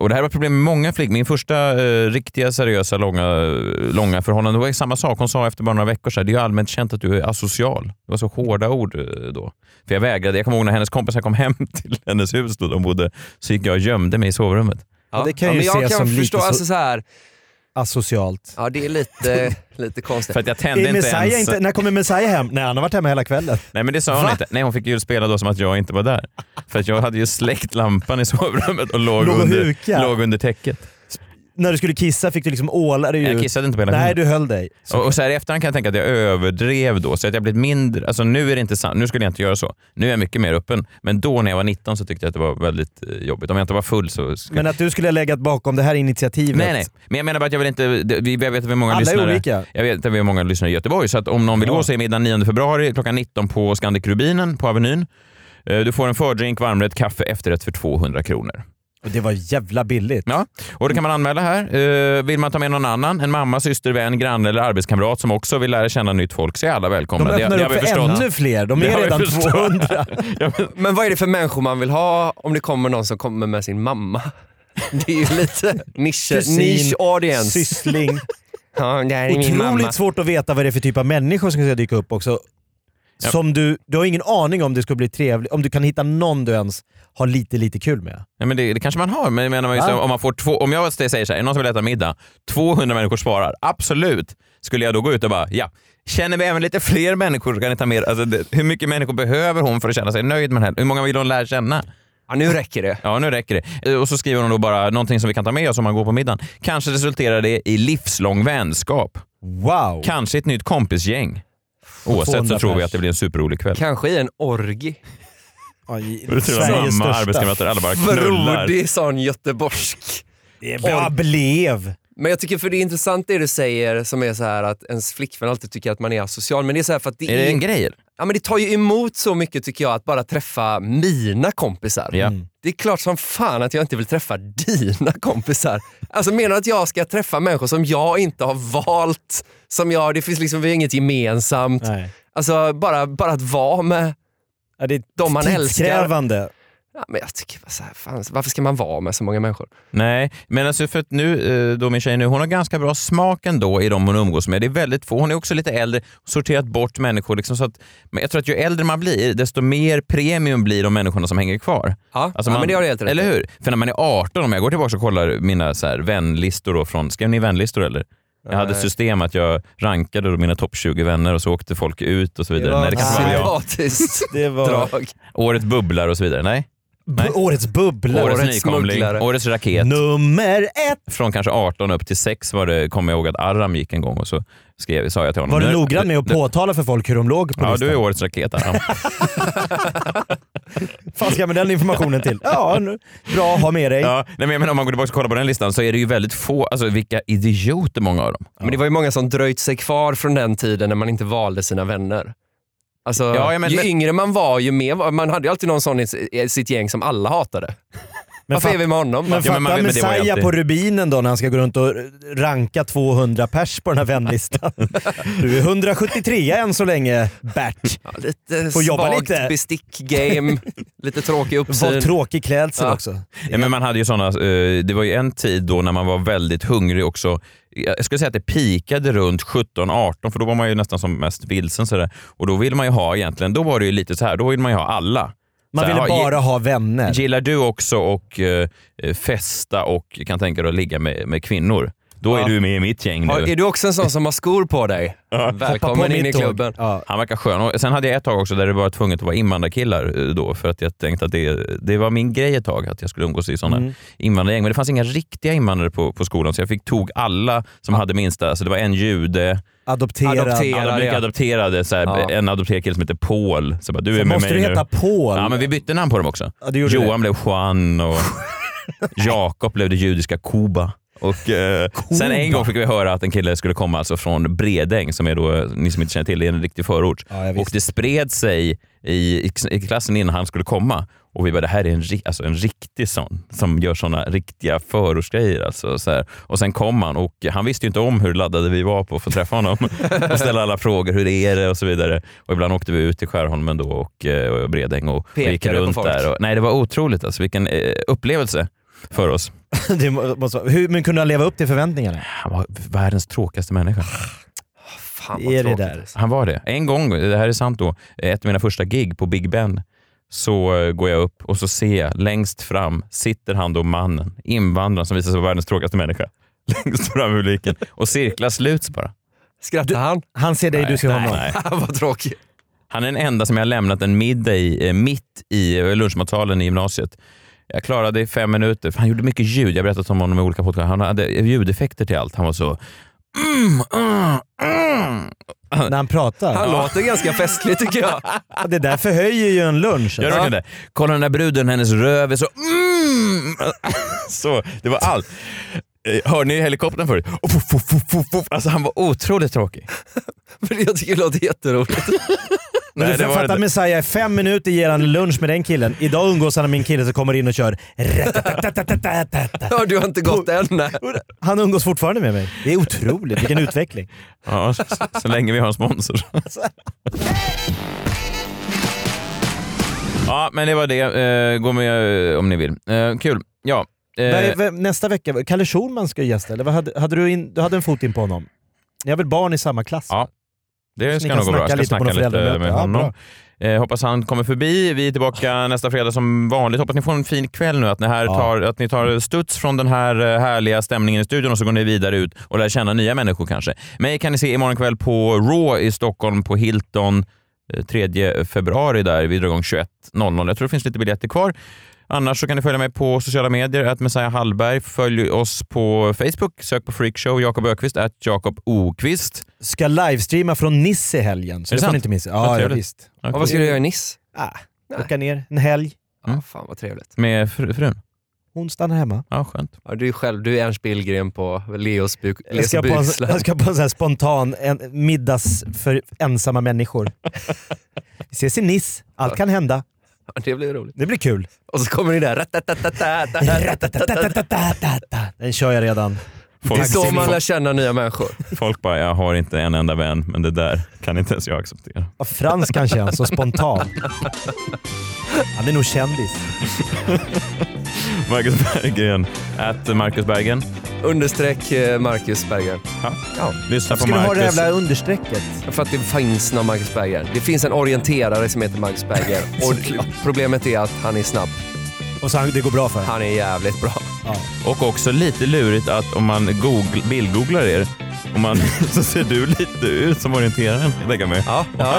Speaker 7: Och det här var ett problem med många flickor. Min första eh, riktiga seriösa långa, långa förhållande var ju samma sak. Hon sa efter bara några veckor så här, det är ju allmänt känt att du är asocial. Det var så hårda ord eh, då. För jag vägrade. Jag kommer ihåg när hennes kompisar kom hem <laughs> till hennes hus då de bodde, så gick jag och gömde mig i sovrummet.
Speaker 8: Ja, det kan ju
Speaker 6: men jag
Speaker 8: ses
Speaker 6: kan
Speaker 8: som lite
Speaker 6: förstå,
Speaker 8: så-
Speaker 6: alltså, så här,
Speaker 8: Asocialt.
Speaker 6: ja det är
Speaker 8: <laughs>
Speaker 6: lite, lite konstigt.
Speaker 7: För att jag tände
Speaker 8: Är
Speaker 7: inte
Speaker 8: Messiah
Speaker 7: ens...
Speaker 8: inte, när kommer Messiah hem? Nej, han har varit hemma hela kvällen.
Speaker 7: Nej men det sa hon inte. Nej hon fick ju spela då som att jag inte var där. För att jag hade ju släckt lampan i <laughs> sovrummet och låg,
Speaker 8: Låg och
Speaker 7: under,
Speaker 8: huka.
Speaker 7: låg under täcket.
Speaker 8: När du skulle kissa fick du liksom åla dig ut.
Speaker 7: Jag kissade inte på hela
Speaker 8: Nej,
Speaker 7: filmen.
Speaker 8: du höll dig.
Speaker 7: Och, och så här i efterhand kan jag tänka att jag överdrev då, så att jag blivit mindre, alltså nu är det inte sant, nu skulle jag inte göra så. Nu är jag mycket mer öppen. Men då när jag var 19 så tyckte jag att det var väldigt eh, jobbigt. Om jag inte var full så... Ska...
Speaker 8: Men att du skulle ha legat bakom det här initiativet.
Speaker 7: Nej, nej. Men jag menar bara att jag vill inte... det- Vi, jag vet att vi har många
Speaker 8: Alla är
Speaker 7: lyssnare.
Speaker 8: olika.
Speaker 7: Jag vet att vi har många lyssnare i Göteborg, så att om någon vill gå så är middagen 9 februari klockan 19 på Scandic Rubinen på Avenyn. Eh, Du får en fördrink, varmrätt, kaffe, efterrätt för 200 kronor.
Speaker 8: Och det var jävla billigt.
Speaker 7: Ja, och det kan man anmäla här. Eh, vill man ta med någon annan, en mamma, syster, vän, granne eller arbetskamrat som också vill lära känna nytt folk, så är alla välkomna.
Speaker 8: De
Speaker 7: Det-
Speaker 8: öppnar
Speaker 7: det har
Speaker 8: upp
Speaker 7: vi
Speaker 8: för
Speaker 7: förstått.
Speaker 8: ännu fler. De
Speaker 7: Det
Speaker 8: är
Speaker 7: har vi
Speaker 8: redan
Speaker 7: förstått.
Speaker 8: 200.
Speaker 6: Men vad är det för människor man vill ha om det kommer någon som kommer med sin mamma? <laughs> Det är ju lite nisch,
Speaker 8: Kusin,
Speaker 6: nisch audience.
Speaker 8: syssling.
Speaker 6: Ja, det här är min mamma.
Speaker 8: Otroligt svårt att veta vad det är för typ av människor som ska dyka upp också. Som du, du har ingen aning om det ska bli trevligt, om du kan hitta någon du ens har lite, lite kul med.
Speaker 7: Ja, men det, det kanske man har, men jag menar man just,
Speaker 8: Va?
Speaker 7: om, man får två, om jag säger så här, är det någon som vill äta middag? 200 människor svarar, absolut. Skulle jag då gå ut och bara, ja, känner vi även lite fler människor så kan ni ta med alltså, det, Hur mycket människor behöver hon för att känna sig nöjd med den här? Hur många vill hon lära känna?
Speaker 6: Ja, nu räcker det.
Speaker 7: Ja, nu räcker det. Eh, Och så skriver hon då bara någonting som vi kan ta med oss om man går på middagen. Kanske resulterar det i livslång vänskap.
Speaker 8: Wow!
Speaker 7: Kanske ett nytt kompisgäng. Oavsett
Speaker 6: 200
Speaker 7: så tror vi
Speaker 6: pers.
Speaker 7: att det blir en superrolig kväll.
Speaker 6: Kanske i en orgi.
Speaker 7: Det tror jag Sveriges mamma, största. arbetskamrater, alla bara knullar.
Speaker 6: Frodig sån göteborgsk.
Speaker 8: Det bara blev.
Speaker 6: Men jag tycker för det är intressant det du säger som är så här att ens flickvän alltid tycker att man är asocial. Men det är så här för att det
Speaker 7: Är det en grej, eller?
Speaker 6: Ja men det tar ju emot så mycket tycker jag att bara träffa mina kompisar.
Speaker 7: Ja.
Speaker 6: Det är klart som fan att jag inte vill träffa dina kompisar. Alltså menar du att jag ska träffa människor som jag inte har valt? Som jag, det finns liksom, vi har inget gemensamt. Alltså bara, bara att vara med
Speaker 8: det är
Speaker 6: de man älskar.
Speaker 8: Tidskrävande.
Speaker 6: Ja, men jag tycker bara så här, fan, varför ska man vara med så många människor?
Speaker 7: Nej, men alltså för att nu, eh, då min tjej nu, hon har ganska bra smak ändå i de hon umgås med. Det är väldigt få. Hon är också lite äldre, sorterat bort människor. Liksom, så att, men jag tror att ju äldre man blir, desto mer premium blir de människorna som hänger kvar.
Speaker 6: Ja,
Speaker 7: Alltså
Speaker 6: ja
Speaker 7: man-
Speaker 6: men det har du helt rätt
Speaker 7: Eller
Speaker 6: i.
Speaker 7: hur? För när man är 18, om jag går tillbaka och kollar mina så här vänlistor då från... Skrev ni vänlistor eller? Jag hade ett
Speaker 6: Nej.
Speaker 7: system att jag rankade då mina topp 20 vänner och så åkte folk ut och så vidare.
Speaker 6: Det var
Speaker 7: Nej, det kanske var jag.
Speaker 6: Sympatiskt
Speaker 8: det var...
Speaker 6: drag.
Speaker 7: Året bubblar och så vidare. Nej? Nej.
Speaker 8: Årets bubbla.
Speaker 7: Årets, nykomling, årets raket.
Speaker 8: Nummer ett.
Speaker 7: Från kanske 18 upp till 6 var det, kommer jag ihåg att Aram gick en gång och så skrev, sa jag till honom.
Speaker 8: Var du
Speaker 7: "Nu-
Speaker 8: noggrann med att påtala för folk hur de låg på
Speaker 7: Ja,
Speaker 8: listan?
Speaker 7: du är årets raket Aram.
Speaker 8: fan ska jag med den
Speaker 7: <laughs>
Speaker 8: informationen till? Ja, nu, bra att ha med dig.
Speaker 7: ja, nej, men, men om man går tillbaka och kollar på den listan så är det ju väldigt få, alltså vilka idioter många av dem.
Speaker 6: Men det var ju många som dröjt sig kvar från den tiden när man inte valde sina vänner. Alltså,
Speaker 7: Ja, ja, men-
Speaker 6: ju
Speaker 7: men-
Speaker 6: yngre man var, ju mer var- man hade ju alltid någon sån i s- i sitt gäng som alla hatade. Varför
Speaker 8: fa-
Speaker 6: är vi med honom?
Speaker 8: Men fatta Messiah på Rubinen då när han ska gå runt och ranka 200 pers på den
Speaker 7: <laughs>
Speaker 8: här vänlistan. du är 173 än så länge, Bert.
Speaker 6: lite
Speaker 8: Får jobba
Speaker 6: svagt
Speaker 8: lite.
Speaker 6: bestick-game, lite tråkig uppsyn.
Speaker 8: Vad tråkig klädsel också.
Speaker 7: Ja, men man hade ju såna, eh, det var ju en tid då när man var väldigt hungrig också. Jag skulle säga att det pikade runt 17-18 för då var man ju nästan som mest vilsen. Sådär. Och då ville man ju ha egentligen, då var det ju lite så här, då ville man ju ha alla.
Speaker 8: Man
Speaker 7: Så här,
Speaker 8: ville
Speaker 7: ja,
Speaker 8: bara
Speaker 7: ge-
Speaker 8: ha vänner.
Speaker 7: Gillar du också och eh, festa och kan tänka dig att ligga med, med kvinnor? Då
Speaker 6: Ja.
Speaker 7: är du med i mitt gäng nu.
Speaker 6: Ja, är du också en sån som har skor på dig? Välkommen in i klubben.
Speaker 7: Han verkar skön. Och sen hade jag ett tag också där det var tvunget att vara invandrarkillar eh, då för att jag tänkte att det, det var min grej ett tag att jag skulle umgås i sådana
Speaker 8: Mm.
Speaker 7: invandrargäng. Men det fanns inga riktiga invandrare på, på skolan så jag fick tog alla som hade minsta. Så det var en jude,
Speaker 8: Adopterad.
Speaker 7: Adopterade, ja, de mycket adopterade. Så här,
Speaker 8: Ja.
Speaker 7: En adopterad kille som heter Paul. Så jag bara, du är
Speaker 8: Så
Speaker 7: med
Speaker 8: måste
Speaker 7: mig
Speaker 8: du
Speaker 7: nu.
Speaker 8: heta Paul?
Speaker 7: Ja, men vi bytte namn på dem också.
Speaker 8: det gjorde
Speaker 7: Johan
Speaker 8: det.
Speaker 7: blev Juan
Speaker 8: <laughs>
Speaker 7: och Jakob blev det judiska Kuba. Och, eh, sen en gång fick vi höra att en kille skulle komma alltså från Bredäng, som är då, eh, ni som inte känner till, det är en riktig förort. och det spred sig i, i, i klassen innan han skulle komma. Och vi bara, det här är en, ri- alltså en riktig sån som gör såna riktiga förortsgrejer. Alltså, så här. Och sen kom han och han visste ju inte om hur laddade vi var på för att träffa <laughs> honom och ställa alla frågor. Hur är det? Och så vidare. Och ibland åkte vi ut till Skärholmen då och, eh, och Bredäng och, och
Speaker 6: Pekade
Speaker 7: gick
Speaker 6: på
Speaker 7: runt
Speaker 6: folk.
Speaker 7: där. Och, nej, det var otroligt. Alltså, vilken eh, upplevelse för oss.
Speaker 8: <laughs> det må- måste, vara- hur, men kunde han leva upp till förväntningarna?
Speaker 7: Han var världens tråkigaste människa.
Speaker 6: Fan
Speaker 8: vad Är det tråkigt. där?
Speaker 7: Han var det. En gång, det här är sant då, ett av mina första gig på Big Ben, så eh, går jag upp och så ser jag längst fram sitter han då mannen, invandraren som visar sig vara världens tråkigaste människa, <laughs> längst fram i publiken och cirklar sluts bara.
Speaker 6: Skrattar han?
Speaker 8: Han ser dig, du ser honom.
Speaker 7: Nej, nej.
Speaker 6: Vad tråkigt.
Speaker 7: Han är den enda som jag har lämnat en middag i, eh, mitt i eh, lunchmatsalen i gymnasiet. Jag klarade i fem minuter, för han gjorde mycket ljud. Jag har berättat om honom i olika podcast. Han hade ljudeffekter till allt. Han var så... mm,
Speaker 8: När han pratar?
Speaker 7: Han låter
Speaker 6: ganska festlig tycker jag.
Speaker 8: Det där förhöjer ju en lunch.
Speaker 7: Gör du verkligen det? Kolla den där bruden, hennes röv är så... Mm. <laughs> så det var allt. Eh, Hör ni helikoptern förut? Oh, fuff, fuff, fuff, fuff, fuff. Alltså han var otroligt
Speaker 8: <laughs>
Speaker 7: tråkig.
Speaker 6: Men jag tycker det låter
Speaker 7: <laughs>
Speaker 6: jätteroligt.
Speaker 8: Men du får fatta Messiah, i fem minuter ger han lunch med den killen. Idag umgås han med en kille som kommer in
Speaker 7: <laughs>
Speaker 8: och kör
Speaker 6: <laughs> Ja, du har inte gått än. nej.
Speaker 8: Han umgås fortfarande med mig. Det är otroligt,
Speaker 7: <laughs>
Speaker 8: vilken utveckling.
Speaker 7: Eh. Ja, så, så länge vi har en
Speaker 8: <laughs>
Speaker 7: sponsor. ja, men det var det. Eh, gå med eh, om ni vill. Eh, kul. Ja. eh,
Speaker 8: Vad är- vad- Nästa vecka, Kalle Schulman ska gästa, eller vad hade, hade du, in, du hade en fot in på honom? Ni har väl barn i samma klass?
Speaker 7: Ja,
Speaker 8: Så
Speaker 7: Det
Speaker 8: ni
Speaker 7: ska
Speaker 8: kan
Speaker 7: nog gå bra. Jag
Speaker 8: snacka
Speaker 7: ska snacka
Speaker 8: lite på något
Speaker 7: lite
Speaker 8: föräldramöte.
Speaker 7: med
Speaker 8: Ja,
Speaker 7: honom. Eh, hoppas han kommer förbi. Vi är tillbaka nästa fredag som vanligt. Hoppas ni får en fin kväll nu. Att ni, här tar, att ni tar studs från den här eh, härliga stämningen i studion och så går ni vidare ut och lär känna nya människor kanske. Mig kan ni se imorgon kväll på Raw i Stockholm på Hilton eh, 3 februari där. Vi drar igång 21.00. Jag tror det finns lite biljetter kvar. Annars så kan ni följa mig på sociala medier, att Messiah Hallberg. Följ oss på Facebook, sök på Freakshow, Jakob Ökvist, att Jakob Okvist.
Speaker 8: Ska livestreama från Nice i helgen, så
Speaker 7: Är
Speaker 8: det
Speaker 7: det
Speaker 8: får ni
Speaker 7: sant?
Speaker 8: inte missa.
Speaker 7: Vad
Speaker 8: Ja, ja,
Speaker 7: trevligt.
Speaker 8: visst.
Speaker 7: Ja, vad ska du göra i Nice?
Speaker 8: Ah, åka ner en helg.
Speaker 7: Mm.
Speaker 6: Fan vad trevligt.
Speaker 7: Med fr- frun?
Speaker 8: Hon stannar hemma.
Speaker 7: Ja, skönt.
Speaker 6: Ja, du är själv, du är Ernst Billgren på Leos, buk,
Speaker 8: Jag
Speaker 6: Leos
Speaker 8: ska, på en,
Speaker 6: buksla.
Speaker 8: jag ska på en sån här spontan en, middags för
Speaker 6: <laughs>
Speaker 8: ensamma människor. Vi ses i Nice. Allt kan hända.
Speaker 6: Ja, <laughs> det blir roligt.
Speaker 8: Det blir kul.
Speaker 6: Och så kommer ni där...
Speaker 8: Den kör jag redan.
Speaker 6: Det är så man lär känna nya människor.
Speaker 7: Folk bara, jag har inte en enda vän, men det där kan inte ens jag acceptera.
Speaker 8: Vad fransk han känns, så spontan. Han är nog kändis.
Speaker 7: Marcus Berggren, at Marcus Berggren.
Speaker 6: Understreck eh, Marcus Berggren.
Speaker 7: Ja. Lyssna på
Speaker 6: Ska du ha det
Speaker 7: Marcus.
Speaker 6: jävla
Speaker 8: understrecket?
Speaker 6: För att det finns någon Marcus Berggren. Det finns en orienterare som heter Marcus
Speaker 7: <laughs>
Speaker 6: Berggren. Och problemet är att han är snabb.
Speaker 8: Och så han, det går bra för
Speaker 6: Han är jävligt bra.
Speaker 7: Och också lite lurigt att om man Google, bildgooglar er, om man, <laughs> så ser du lite ut som orienteraren, kan jag tänka mig. Ja,
Speaker 6: Ja,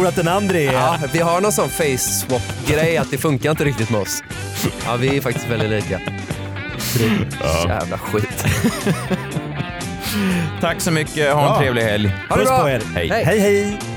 Speaker 6: vi-
Speaker 8: att den andra är...
Speaker 6: Ja, vi har någon sån face-swap-grej att det funkar inte riktigt med oss. Ja, vi är faktiskt väldigt lika. Jävla skit.
Speaker 7: Tack så mycket, ha en
Speaker 6: Ja.
Speaker 7: trevlig helg.
Speaker 6: Ha det bra.
Speaker 7: Hej.
Speaker 6: hej.